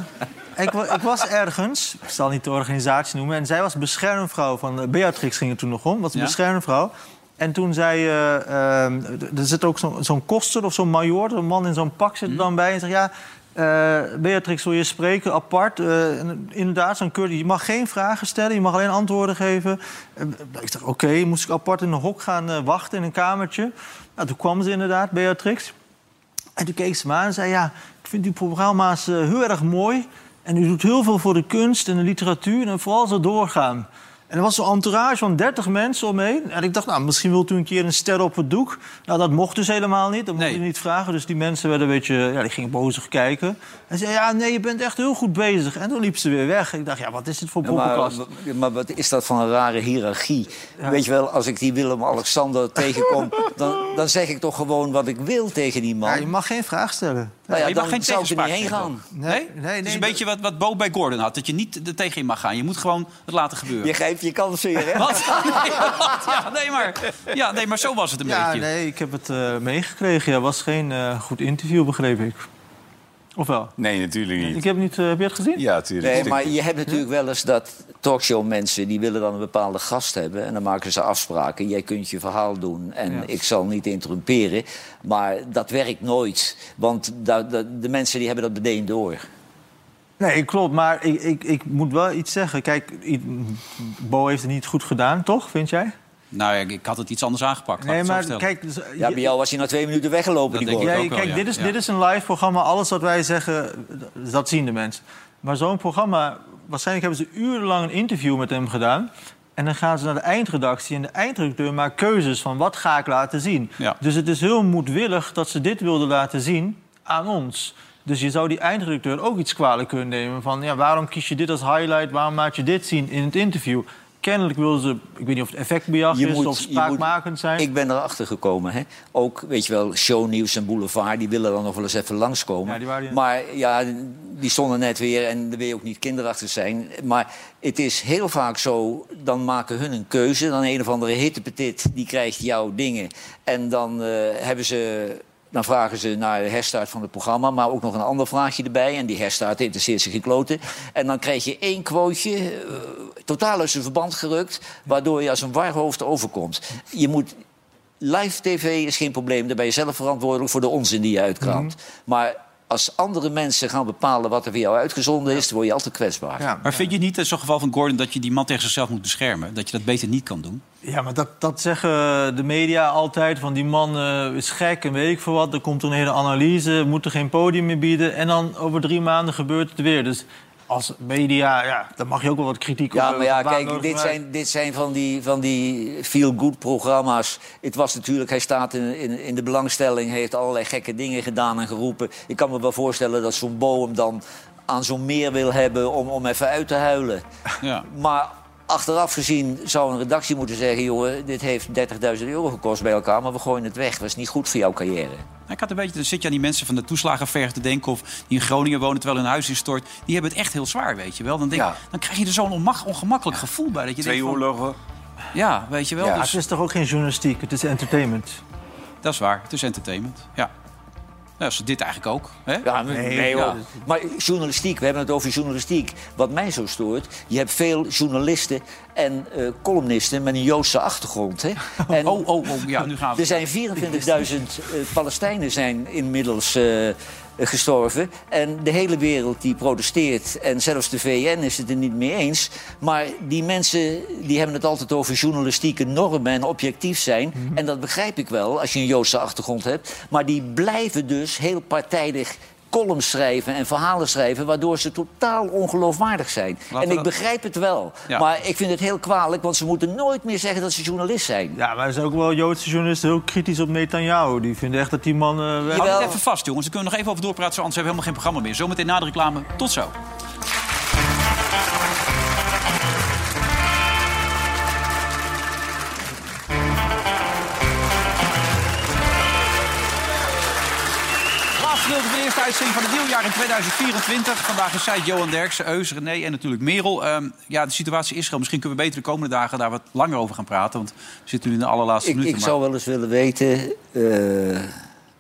Speaker 4: ik, wa- ik was ergens, ik zal niet de organisatie noemen... en zij was beschermvrouw van... eh, Beatrix ging het toen nog om, was
Speaker 1: Ja.
Speaker 4: beschermvrouw. En toen zei... eh, ehm, d- er zit ook zo'n zo'n koster of zo'n majoor, een man in zo'n pak zit er dan bij... en zegt, ja, eh, Beatrix, wil je spreken apart? Eh, en inderdaad, zo'n keur, je mag geen vragen stellen, je mag alleen antwoorden geven. Eh, ik dacht, oké, moest ik apart in een hok gaan eh, wachten, in een kamertje. Nou, toen kwam ze inderdaad, Beatrix... En toen keek ze me aan en zei: Ja, ik vind uw programma's eh, heel erg mooi. En u doet heel veel voor de kunst en de literatuur. En vooral zo doorgaan. En er was zo'n entourage van 30 mensen omheen. En ik dacht, nou, misschien wilt u een keer een ster op het doek. Nou, dat mocht dus helemaal niet. Dat mocht
Speaker 1: Nee.
Speaker 4: u niet vragen. Dus die mensen werden een beetje, ja, die gingen bozig kijken. En zei, ja, nee, je bent echt heel goed bezig. En toen liep ze weer weg. Ik dacht, ja, wat is dit voor
Speaker 3: Ja, maar,
Speaker 4: poppenkast?
Speaker 3: maar wat is dat van een rare hiërarchie? Weet je wel, als ik die
Speaker 1: [LAUGHS]
Speaker 3: Willem-Alexander tegenkom... Dan, dan zeg ik toch gewoon wat ik wil tegen die man.
Speaker 4: Ja, je mag geen vraag stellen.
Speaker 3: nou
Speaker 1: Ja,
Speaker 3: ja,
Speaker 1: je mag
Speaker 3: dan
Speaker 1: geen
Speaker 3: zou ik er
Speaker 1: tegenspraak
Speaker 3: niet heen
Speaker 1: geven.
Speaker 3: gaan.
Speaker 1: Nee?
Speaker 4: Nee,
Speaker 1: het is
Speaker 4: nee, nee,
Speaker 1: een
Speaker 4: dat-
Speaker 1: beetje wat, wat Bo bij Gordon had. Dat je niet er tegen in mag gaan. Je moet gewoon het laten gebeuren.
Speaker 3: Je grijpt je kans weer,
Speaker 1: [LAUGHS]
Speaker 3: hè?
Speaker 1: Wat? Nee, wat? Ja, nee, maar, ja, nee, maar zo was het een
Speaker 4: Ja,
Speaker 1: beetje.
Speaker 4: nee, ik heb het eh, meegekregen. Ja, was geen eh, goed interview, begreep ik. Of wel?
Speaker 2: [LAUGHS] Nee, natuurlijk
Speaker 4: Ik
Speaker 2: niet.
Speaker 4: heb niet, eh, heb je het gezien?
Speaker 2: Ja, natuurlijk.
Speaker 3: Nee, maar je hebt natuurlijk wel eens dat talkshow-mensen... die willen dan een bepaalde gast hebben. En dan maken ze afspraken. Jij kunt je verhaal doen en ik zal niet interrumperen. Maar dat werkt nooit. Want da- da- de mensen die hebben dat meteen door.
Speaker 4: Nee, klopt. Maar ik, ik, ik moet wel iets zeggen. Kijk, i- Bo heeft het niet goed gedaan, toch? Vind jij?
Speaker 1: Nou, ja, ik had het iets anders aangepakt. laat ik
Speaker 4: Nee,
Speaker 1: het zo
Speaker 4: maar
Speaker 1: stellen.
Speaker 4: kijk... dus-
Speaker 3: Ja, bij jou was hij na twee minuten weggelopen,
Speaker 1: Dat
Speaker 3: die
Speaker 1: denk
Speaker 3: Gordon.
Speaker 1: ik
Speaker 4: Ja,
Speaker 1: ook wel,
Speaker 4: kijk,
Speaker 1: ja.
Speaker 4: dit, is,
Speaker 1: Ja.
Speaker 4: dit is een live programma. Alles wat wij zeggen, d- dat zien de mensen. Maar zo'n programma, waarschijnlijk hebben ze urenlang een interview met hem gedaan. En dan gaan ze naar de eindredactie. En de eindredacteur maakt keuzes van wat ga ik laten zien.
Speaker 1: Ja.
Speaker 4: Dus het is heel moedwillig dat ze dit wilden laten zien aan ons. Dus je zou die eindredacteur ook iets kwalijk kunnen nemen. Van ja, waarom kies je dit als highlight? Waarom laat je dit zien in het interview? Kennelijk wilden ze, ik weet niet of het effectbejag
Speaker 3: Je
Speaker 4: is
Speaker 3: moet-
Speaker 4: of
Speaker 3: je moet-
Speaker 4: spraakmakend zijn.
Speaker 3: Ik ben erachter gekomen. Hè? Ook, weet je wel, shownieuws en boulevard, die willen dan nog wel eens even langskomen.
Speaker 4: Ja, die waren hier.
Speaker 3: Maar ja, die stonden net weer en daar wil je ook niet kinderachtig zijn. Maar het is heel vaak zo, dan maken hun een keuze. Dan een of andere hittepetit, die krijgt jouw dingen. En dan eh, hebben ze... Dan vragen ze naar de herstart van het programma, maar ook nog een ander vraagje erbij. En die herstart interesseert zich gekloten. En dan krijg je één quoteje, eh, totaal uit zijn verband gerukt, waardoor je als een warhoofd overkomt. Je moet live tv is geen probleem. Daar ben je zelf verantwoordelijk voor de onzin die je uitkraamt. Maar als andere mensen gaan bepalen wat er voor jou uitgezonden is... dan word je altijd kwetsbaar.
Speaker 4: Ja.
Speaker 1: Maar vind je niet in zo'n geval van Gordon dat je die man tegen zichzelf moet beschermen? Dat je dat beter niet kan doen?
Speaker 4: Ja, maar dat, dat zeggen de media altijd. Van die man eh, is gek en weet ik veel wat. Er komt een hele analyse, moet er geen podium meer bieden. En dan over drie maanden gebeurt het weer. Dus als media, ja, dan mag je ook wel wat kritiek
Speaker 3: Ja,
Speaker 4: op
Speaker 3: maar ja,
Speaker 4: op
Speaker 3: kijk,
Speaker 4: waardeloos
Speaker 3: dit
Speaker 4: gebruik.
Speaker 3: zijn, dit zijn van die, van die feel-good programma's. Het was natuurlijk, hij staat in, in, in de belangstelling, hij heeft allerlei gekke dingen gedaan en geroepen. Ik kan me wel voorstellen dat zo'n boom dan aan zo'n meer wil hebben om, om even uit te huilen.
Speaker 1: Ja.
Speaker 3: Maar achteraf gezien zou een redactie moeten zeggen... jongen, dit heeft 30.000 euro gekost bij elkaar, maar we gooien het weg. Dat is niet goed voor jouw carrière.
Speaker 1: Nou, Ik had een beetje, dan zit je aan die mensen van de toeslagenverg te denken... of die in Groningen wonen terwijl hun huis instort. Die hebben het echt heel zwaar, weet je wel. Dan, denk,
Speaker 2: Ja.
Speaker 1: dan krijg je er zo'n onmag- ongemakkelijk gevoel bij. Dat je
Speaker 2: Twee
Speaker 1: denkt van,
Speaker 2: oorlogen.
Speaker 1: Ja, weet je wel.
Speaker 2: Ja.
Speaker 4: Ja,
Speaker 1: Dus,
Speaker 4: het is toch ook geen journalistiek, het is entertainment.
Speaker 1: dat is waar. Het is entertainment. Ja. Nou, is dit eigenlijk ook. Hè?
Speaker 3: Ja, nee,
Speaker 1: hoor.
Speaker 3: hoor. Maar journalistiek, we hebben het over journalistiek. Wat mij zo stoort, je hebt veel journalisten en eh, columnisten met een Joodse achtergrond. Hè?
Speaker 1: [LAUGHS]
Speaker 3: En
Speaker 1: Oh, oh, oh, ja, nu gaan we.
Speaker 3: er zijn 24.000 eh, Palestijnen zijn inmiddels eh, gestorven. En de hele wereld die protesteert. En zelfs de VN is het er niet mee eens. Maar die mensen die hebben het altijd over journalistieke normen en objectief zijn.
Speaker 1: Mhm.
Speaker 3: En dat begrijp ik wel als je een Joodse achtergrond hebt. Maar die blijven dus heel partijdig columns schrijven en verhalen schrijven... waardoor ze totaal ongeloofwaardig zijn.
Speaker 1: we
Speaker 3: en ik
Speaker 1: dat-
Speaker 3: begrijp het wel.
Speaker 1: Ja.
Speaker 3: Maar ik vind het heel kwalijk, want ze moeten nooit meer zeggen dat ze journalist zijn.
Speaker 4: Ja, maar er zijn ook wel Joodse journalisten heel kritisch op Netanyahu. Die vinden echt dat die man... eh, weg-
Speaker 1: Hou
Speaker 3: Jawel.
Speaker 1: het even vast, jongens. We kunnen nog even over doorpraten, zo anders hebben we helemaal geen programma meer. Zometeen na de reclame. Tot zo. Afgedeelte van de eerste uitzending van het nieuwjaar in 2024. Vandaag is zij Johan Derksen, Eus, René en natuurlijk Merel. Ehm, ja, de situatie in Israël. Misschien kunnen we beter de komende dagen daar wat langer over gaan praten. Want we zitten nu in de allerlaatste
Speaker 3: Ik,
Speaker 1: minuten.
Speaker 3: ik
Speaker 1: maar-
Speaker 3: zou wel eens willen weten. eh,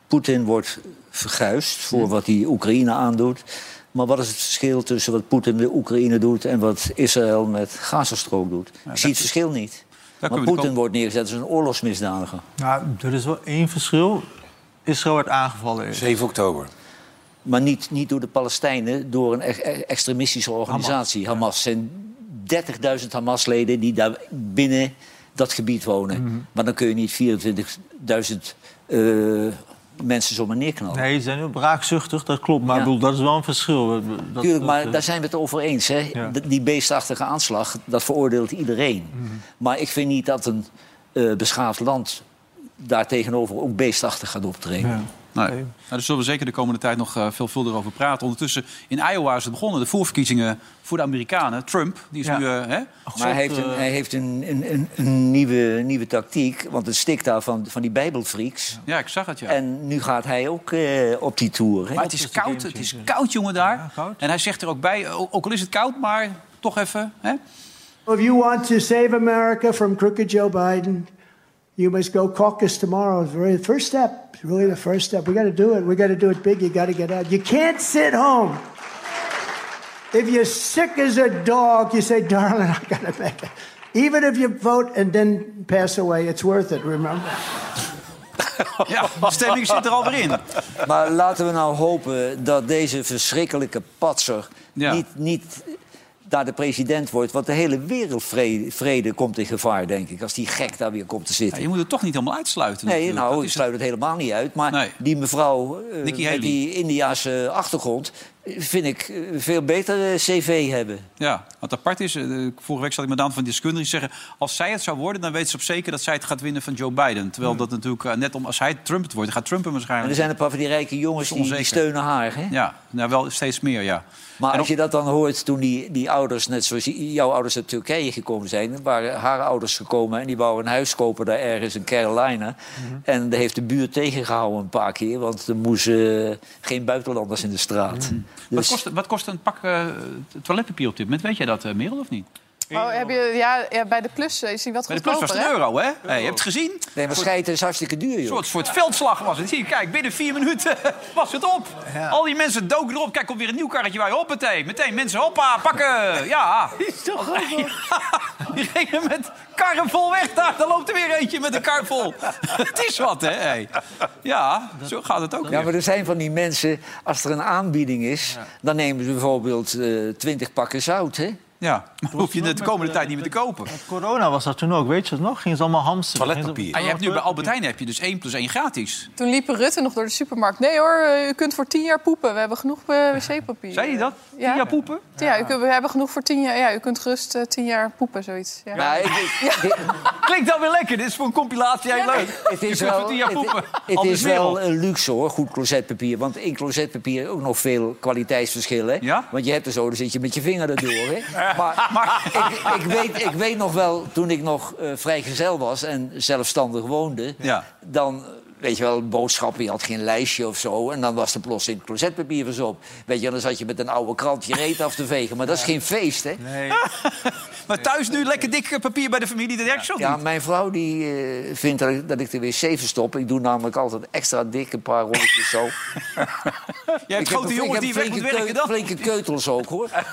Speaker 3: Poetin wordt verguisd voor wat hij Oekraïne aandoet. Maar wat is het verschil tussen wat Poetin met Oekraïne doet en wat Israël met Gazastrook doet? Ik zie het verschil niet. Maar
Speaker 1: kunnen we de
Speaker 3: Poetin
Speaker 1: kant-
Speaker 3: wordt neergezet als een oorlogsmisdadiger.
Speaker 4: Nou, er is wel één verschil. Israël werd aangevallen. eerst.
Speaker 2: 7 oktober.
Speaker 3: Maar niet, niet door de Palestijnen, door een e- e- extremistische organisatie, Hamas. zijn 30.000 Hamas-leden die daar binnen dat gebied wonen.
Speaker 1: Mhm.
Speaker 3: Maar dan kun je niet 24.000 eh, mensen zomaar neerknallen.
Speaker 4: Nee, ze zijn heel braakzuchtig, dat klopt. Maar
Speaker 3: Ja.
Speaker 4: ik bedoel, dat is wel een verschil. Dat- dat-
Speaker 3: Tuurlijk, maar
Speaker 4: dat-
Speaker 3: daar zijn we het over eens. Hè?
Speaker 4: Ja.
Speaker 3: D- Die beestachtige aanslag, dat veroordeelt iedereen.
Speaker 4: Mhm.
Speaker 3: Maar ik vind niet dat een eh, beschaafd land daar tegenover ook beestachtig gaat optreden.
Speaker 4: Ja.
Speaker 1: Nee. Nou, daar zullen we zeker de komende tijd nog eh, veelvuldig over praten. Ondertussen, in Iowa is het begonnen, de voorverkiezingen voor de Amerikanen. Trump, die is
Speaker 4: Ja. Oh, eh,
Speaker 1: nu... eh, hè?
Speaker 3: Maar hij heeft, een, hij heeft een, een, een, een nieuwe, nieuwe tactiek, want het stikt daar van, van die bijbelfreaks.
Speaker 1: Ja, ik zag het, ja.
Speaker 3: En nu gaat hij ook eh, op die tour. Hè?
Speaker 1: maar het is koud, het is koud, jongen, daar.
Speaker 4: koud.
Speaker 1: En hij zegt er ook bij, o- ook al is het koud, maar toch even...
Speaker 4: [LAUGHS]
Speaker 1: Hè?
Speaker 9: If you want to save America from crooked Joe Biden, you must go caucus tomorrow. It's really the first step. It's really the first step. We got to do it. We got to do it big. You got to get out. You can't sit home. If you're sick as a dog, you say, darling, I got to make it. Even if you vote and then pass away, it's worth it, remember?
Speaker 1: Ja, de stemming zit er alweer in.
Speaker 3: Maar laten we nou hopen dat deze verschrikkelijke patser
Speaker 1: Ja.
Speaker 3: niet, niet daar de president wordt. Want de hele wereldvrede vrede komt in gevaar, denk ik, als die gek daar weer komt te
Speaker 1: Ja,
Speaker 3: zitten.
Speaker 1: je moet het toch niet helemaal uitsluiten.
Speaker 3: Nee,
Speaker 1: natuurlijk.
Speaker 3: nou,
Speaker 1: Dat
Speaker 3: ik
Speaker 1: is-
Speaker 3: sluit het helemaal niet uit. Maar
Speaker 1: Nee.
Speaker 3: die mevrouw eh,
Speaker 1: Nikki Haley.
Speaker 3: met die Indiaanse achtergrond... eh, vind ik eh, veel beter eh, cv hebben.
Speaker 1: Ja, wat apart is, eh, de- vorige week zat ik met Daan van Deskundigen die zeggen... als zij het zou worden, dan weet ze op zeker dat zij het gaat winnen van Joe Biden.
Speaker 4: Hmm.
Speaker 1: Terwijl dat natuurlijk eh, net om, als hij Trump het wordt, dan gaat Trump hem
Speaker 3: En er
Speaker 1: waarschijnlijk...
Speaker 3: zijn een paar van die rijke jongens die, die
Speaker 1: onzeker.
Speaker 3: steunen haar. Hè?
Speaker 1: Ja, nou wel steeds meer, ja.
Speaker 3: Maar
Speaker 1: En
Speaker 3: als je dat dan hoort toen die, die ouders, net zoals jouw ouders uit Turkije gekomen zijn, waren haar ouders gekomen en die wouden een huis kopen daar ergens in Carolina. En daar heeft de buurt tegengehouden een paar keer, want er moesten eh, geen buitenlanders in de straat.
Speaker 1: Wat
Speaker 3: Dus
Speaker 1: kost, wat kost een pak eh, t- toiletpapier op dit moment? Weet jij dat, eh, Merel, of niet?
Speaker 5: Oh, heb je, ja, ja, bij de plus eh, is hij wat
Speaker 1: Bij de plus was
Speaker 5: goedkoper,
Speaker 1: het
Speaker 5: hè?
Speaker 1: een euro, hè? Hey, je hebt het gezien? Een
Speaker 3: nee, maar scheiden is hartstikke duur, joh.
Speaker 1: soort, soort veldslag was het. Hier, kijk, binnen vier minuten [LAUGHS] was het op. Al die mensen doken erop. Kijk, komt weer een nieuw karretje bij. Hoppatee, meteen mensen, hoppa, pakken. Ja.
Speaker 3: [LAUGHS]
Speaker 1: Is toch Die gingen met karren vol weg daar. Dan loopt er weer eentje met een kar vol. [LAUGHS] het is wat, hè? Hey. Ja, zo gaat het ook
Speaker 3: Ja,
Speaker 1: weer.
Speaker 3: maar er zijn van die mensen, als er een aanbieding is, dan nemen ze bijvoorbeeld eh, twintig pakken zout. Hè?
Speaker 1: Ja, [LAUGHS] maar hoef je het de komende tijd niet meer te kopen.
Speaker 4: Corona was dat toen ook, weet je dat nog? Gingen ze allemaal hamsteren.
Speaker 2: Toiletpapier.
Speaker 1: En je hebt nu bij Albert Heijn heb je dus 1 plus 1 gratis.
Speaker 5: Toen liep Rutte nog door de supermarkt. Nee hoor, eh, u kunt voor tien jaar poepen. We hebben genoeg eh, wc-papier.
Speaker 1: Zei je dat?
Speaker 5: Ja.
Speaker 1: Via poepen?
Speaker 5: Ja, u kunt- we hebben genoeg voor tien jaar. Ja, u kunt gerust eh, tien jaar poepen, zoiets. Ja. [LAUGHS]
Speaker 3: Nou, ik- ik-
Speaker 1: Klinkt dan weer lekker. Dit is voor een compilatie heel leuk.
Speaker 3: Het is
Speaker 1: Je kunt
Speaker 3: wel,
Speaker 1: voor tien jaar
Speaker 3: het-
Speaker 1: poepen.
Speaker 3: het
Speaker 1: Anders
Speaker 3: is
Speaker 1: Merel.
Speaker 3: wel een luxe hoor, goed closetpapier. Want in closetpapier ook nog veel kwaliteitsverschillen.
Speaker 1: Ja?
Speaker 3: Want je hebt er zo, dan zit je met je vinger erdoor.
Speaker 1: [LAUGHS]
Speaker 3: Hè? Maar,
Speaker 1: Maar-
Speaker 3: ik, ik, weet, ik weet nog wel, toen ik nog eh, vrijgezel was en zelfstandig woonde...
Speaker 1: Ja.
Speaker 3: dan, weet je wel, een boodschap, je had geen lijstje of zo... en dan was er plots in closetpapier was op. Weet je, wel, dan zat je met een oude krant je reet af te vegen. Maar dat is geen feest, hè?
Speaker 1: Maar thuis nu lekker dik papier bij de familie de Derksen.
Speaker 3: Ja, mijn vrouw die eh, vindt dat ik, dat ik de wc verstop. Ik doe namelijk altijd extra dik een paar rolletjes zo.
Speaker 1: Jij hebt
Speaker 3: Ik heb
Speaker 1: grote
Speaker 3: een-
Speaker 1: jongens die
Speaker 3: ik
Speaker 1: weg
Speaker 3: heb
Speaker 1: moeten werken
Speaker 3: flinke keu-
Speaker 1: dan.
Speaker 3: flinke keutels ook,
Speaker 1: [LAUGHS]
Speaker 3: hoor. En-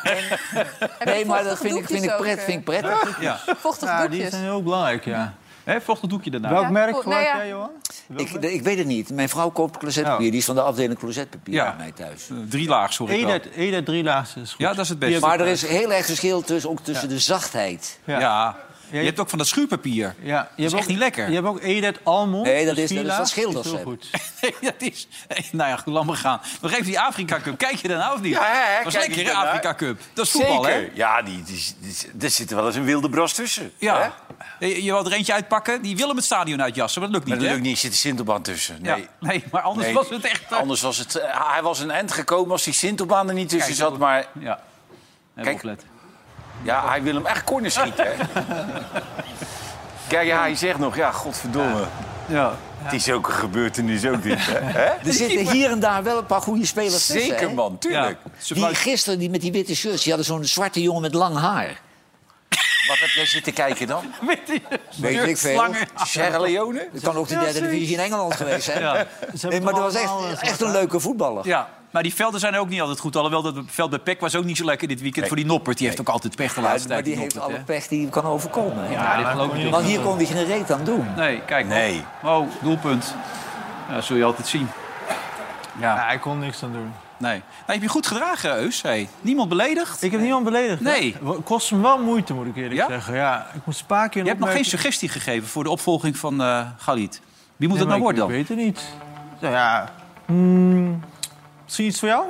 Speaker 3: nee, maar dat vind ik, vind ik,
Speaker 5: doekjes
Speaker 3: pret,
Speaker 5: ook,
Speaker 3: vind ik prettig.
Speaker 1: Ja.
Speaker 5: Vochtig
Speaker 4: Ja, die
Speaker 5: doekjes.
Speaker 4: zijn heel belangrijk, ja.
Speaker 1: Hè, vochtig doekje daarna.
Speaker 4: Welk
Speaker 5: Ja,
Speaker 4: merk
Speaker 5: goed,
Speaker 4: gebruik
Speaker 5: nou ja.
Speaker 4: jij, Johan?
Speaker 3: Ik, ik weet het niet. Mijn vrouw koopt closetpapier.
Speaker 4: Ja.
Speaker 3: Die is van de afdeling closetpapier
Speaker 1: Ja.
Speaker 3: bij mij thuis.
Speaker 1: Eh, Drie laag, sorry.
Speaker 4: Eén uit- één uit drie laagste is goed.
Speaker 1: Ja, dat is het beste.
Speaker 3: Maar er is heel erg verschil tussen, ook tussen de zachtheid.
Speaker 1: ja. Je hebt ook van dat schuurpapier.
Speaker 4: Ja, je hebt
Speaker 1: echt niet lekker.
Speaker 4: Je hebt ook Edet Almond.
Speaker 3: Nee, dat
Speaker 4: dus
Speaker 3: is- dat is
Speaker 4: Villa.
Speaker 3: wat schilders [LAUGHS]
Speaker 4: heel
Speaker 3: hebben.
Speaker 4: goed.
Speaker 1: [LAUGHS] Nee, dat is... Nee, nou ja, goed, laat maar gaan. We geven die Afrika Cup. Kijk je daarna of niet?
Speaker 2: Ja, hè,
Speaker 1: was
Speaker 2: kijk
Speaker 1: lekker,
Speaker 2: ik
Speaker 1: hè,
Speaker 2: daarna.
Speaker 1: Afrika Cup. Dat is voetbal, hè?
Speaker 2: Zeker. Ja, die, die, die- er zit wel eens een wilde bras tussen. hè?
Speaker 1: Ja. Je, je wil er eentje uitpakken. Die willen het stadion uitjassen, maar dat lukt
Speaker 2: Maar
Speaker 1: niet,
Speaker 2: dat
Speaker 1: hè?
Speaker 2: lukt niet, er zit een Sintelbaan tussen. Nee.
Speaker 1: Ja. Nee, maar anders
Speaker 2: Nee.
Speaker 1: was het echt... eh,
Speaker 2: Anders was het... eh, hij was een eind gekomen als die Sintelbaan er niet tussen
Speaker 1: Kijk,
Speaker 2: zat.
Speaker 1: dat-
Speaker 2: Maar
Speaker 1: Ja.
Speaker 2: Kijk.
Speaker 1: Kijk.
Speaker 2: ja, hij wil hem echt corner schieten.
Speaker 1: [LAUGHS]
Speaker 2: hè. Kijk, ja, hij zegt nog, ja, godverdomme.
Speaker 1: Ja.
Speaker 2: Het is ook een gebeurtenis ook dit. hè?
Speaker 1: [LAUGHS]
Speaker 2: Hè?
Speaker 3: Er zitten hier en daar wel een paar goede spelers tussen,
Speaker 2: Zeker,
Speaker 3: hè?
Speaker 2: man, tuurlijk.
Speaker 1: Ja. Ze [LAUGHS]
Speaker 3: Die gisteren die met die witte shirts, die hadden zo'n zwarte jongen met lang haar.
Speaker 2: Wat heb jij zitten kijken
Speaker 1: [LAUGHS]
Speaker 2: dan?
Speaker 3: Weet ik veel.
Speaker 1: Slangen.
Speaker 2: Sierra Leone?
Speaker 3: Het kan ook de derde divisie in Engeland geweest zijn.
Speaker 1: Ja.
Speaker 4: Ze hebben
Speaker 3: Nee, maar dat was
Speaker 4: allemaal,
Speaker 3: echt,
Speaker 4: eh,
Speaker 3: echt een leuke voetballer.
Speaker 1: Ja. Maar die velden zijn ook niet altijd goed. Alhoewel dat veld bij Peck was ook niet zo lekker dit weekend voor die Noppert. Die heeft ook altijd pech de laatste
Speaker 3: maar
Speaker 1: tijd.
Speaker 3: die heeft
Speaker 1: Noppert,
Speaker 3: alle
Speaker 1: hè?
Speaker 3: pech die hem kan overkomen. hè.
Speaker 1: Ja, dit geloof ik niet.
Speaker 3: Want hier kon hij geen reet aan doen.
Speaker 1: Nee, kijk.
Speaker 2: Nee.
Speaker 1: Oh, doelpunt. Ja, dat zul je altijd zien.
Speaker 4: Ja,
Speaker 1: Ja,
Speaker 4: hij kon niks aan doen.
Speaker 1: nee. Nou, heb je goed gedragen, Eus. Hey. Niemand beledigd.
Speaker 4: Ik heb niemand beledigd. hè?
Speaker 1: Nee.
Speaker 4: Het kost me wel moeite, moet ik eerlijk
Speaker 1: Ja?
Speaker 4: zeggen. Ja, ik moest een paar keer
Speaker 1: Je hebt nog geen
Speaker 4: opmerking-
Speaker 1: suggestie gegeven voor de opvolging van eh Galit. Wie moet
Speaker 4: Nee,
Speaker 1: dat nou
Speaker 4: maar
Speaker 1: worden dan?
Speaker 4: Ik ik weet het niet. Nou ja, hmm, misschien iets voor jou?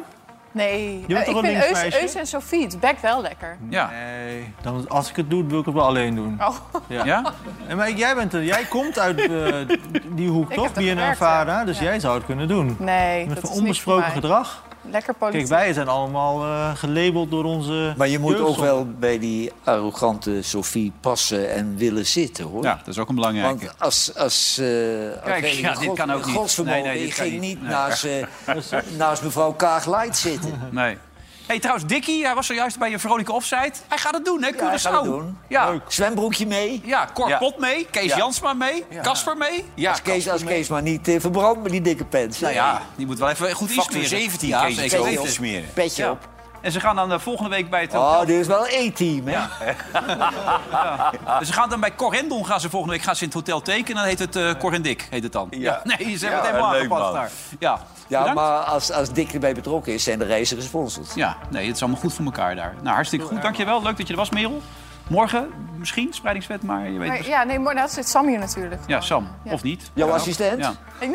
Speaker 5: Nee,
Speaker 4: bent
Speaker 5: Eh,
Speaker 4: toch een
Speaker 5: ik vind Eus,
Speaker 4: linksmeisje?
Speaker 5: Eus en Sofie het bek wel lekker.
Speaker 1: Ja.
Speaker 4: Nee. Dan, als ik het doe, wil ik het wel alleen doen.
Speaker 5: Oh,
Speaker 1: ja?
Speaker 4: En maar jij, bent er, jij komt uit eh,
Speaker 5: [LAUGHS]
Speaker 4: die hoek,
Speaker 5: Ik
Speaker 4: toch?
Speaker 5: heb er
Speaker 4: BNN
Speaker 5: gewerkt,
Speaker 4: Vara,
Speaker 5: ja.
Speaker 4: dus
Speaker 5: Ja.
Speaker 4: jij zou het kunnen doen.
Speaker 5: nee,
Speaker 4: Met
Speaker 5: dat is niet voor
Speaker 4: onbesproken
Speaker 5: mij.
Speaker 4: gedrag.
Speaker 5: Lekker
Speaker 4: Kijk,
Speaker 5: politiek.
Speaker 4: wij zijn allemaal eh, gelabeld door onze.
Speaker 3: Maar je moet
Speaker 4: jeugd.
Speaker 3: ook wel bij die arrogante Sofie passen en willen zitten, hoor.
Speaker 1: ja, dat is ook een belangrijke.
Speaker 3: Want als, als, eh
Speaker 1: Kijk,
Speaker 3: als
Speaker 1: ja, dit kan ook niet.
Speaker 3: godsvermogen,
Speaker 1: Nee, nee, dit
Speaker 3: je
Speaker 1: kan
Speaker 3: ging
Speaker 1: niet.
Speaker 3: niet
Speaker 1: Nee.
Speaker 3: naast,
Speaker 1: [LAUGHS]
Speaker 3: eh, naast mevrouw Kaag Light zitten.
Speaker 1: Nee. hey, trouwens, Dickie, hij was zojuist bij je vrolijke offside. Hij gaat het doen, hè? Curaçao.
Speaker 3: hij gaat het doen.
Speaker 1: Ja.
Speaker 3: Zwembroekje mee.
Speaker 1: Ja, Cor
Speaker 2: Ja.
Speaker 1: Pot mee, Kees
Speaker 3: Ja.
Speaker 1: Jansma mee, Casper mee. Ja,
Speaker 3: als, Kees, als Kees maar niet eh, verbrand met die dikke pens.
Speaker 1: Nou ja, die moet wel even goed
Speaker 2: Factor
Speaker 1: insmeren.
Speaker 2: 17
Speaker 1: ja,
Speaker 2: Kees
Speaker 1: zeker
Speaker 2: Jansma.
Speaker 1: weten.
Speaker 2: Kees smeren.
Speaker 3: Petje
Speaker 1: Ja.
Speaker 3: op.
Speaker 1: En ze gaan dan eh, volgende week bij het...
Speaker 3: Oh, dit is wel een E-team, hè? Ah.
Speaker 1: Ze gaan dan bij Corendon gaan ze volgende week gaan ze in het hotel tekenen. Dan heet het eh Corendik, heet het dan. Ja. [LAUGHS] Nee, ze hebben het helemaal
Speaker 2: leuk,
Speaker 1: aangepast
Speaker 2: man.
Speaker 1: daar. Ja,
Speaker 3: Ja,
Speaker 1: Bedankt.
Speaker 3: maar als, als Dick erbij betrokken is, zijn de reizen gesponsord.
Speaker 1: Ja, nee, het is allemaal goed voor elkaar daar. Nou, hartstikke goed. Dankjewel. Leuk dat je er was, Merel. Morgen misschien, spreidingswet, maar je weet
Speaker 5: Maar,
Speaker 1: het.
Speaker 5: ja, nee, maar dat zit Sam hier natuurlijk.
Speaker 1: Ja, Sam,
Speaker 5: Ja.
Speaker 1: of niet.
Speaker 3: Jouw assistent?
Speaker 1: Ja.
Speaker 5: Nee,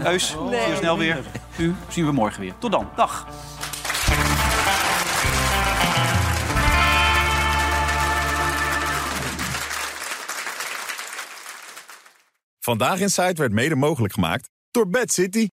Speaker 5: [LAUGHS]
Speaker 1: Heus, zie je snel weer. U zien we morgen weer. Tot dan. Dag.
Speaker 10: Vandaag in Site werd mede mogelijk gemaakt door Bad City.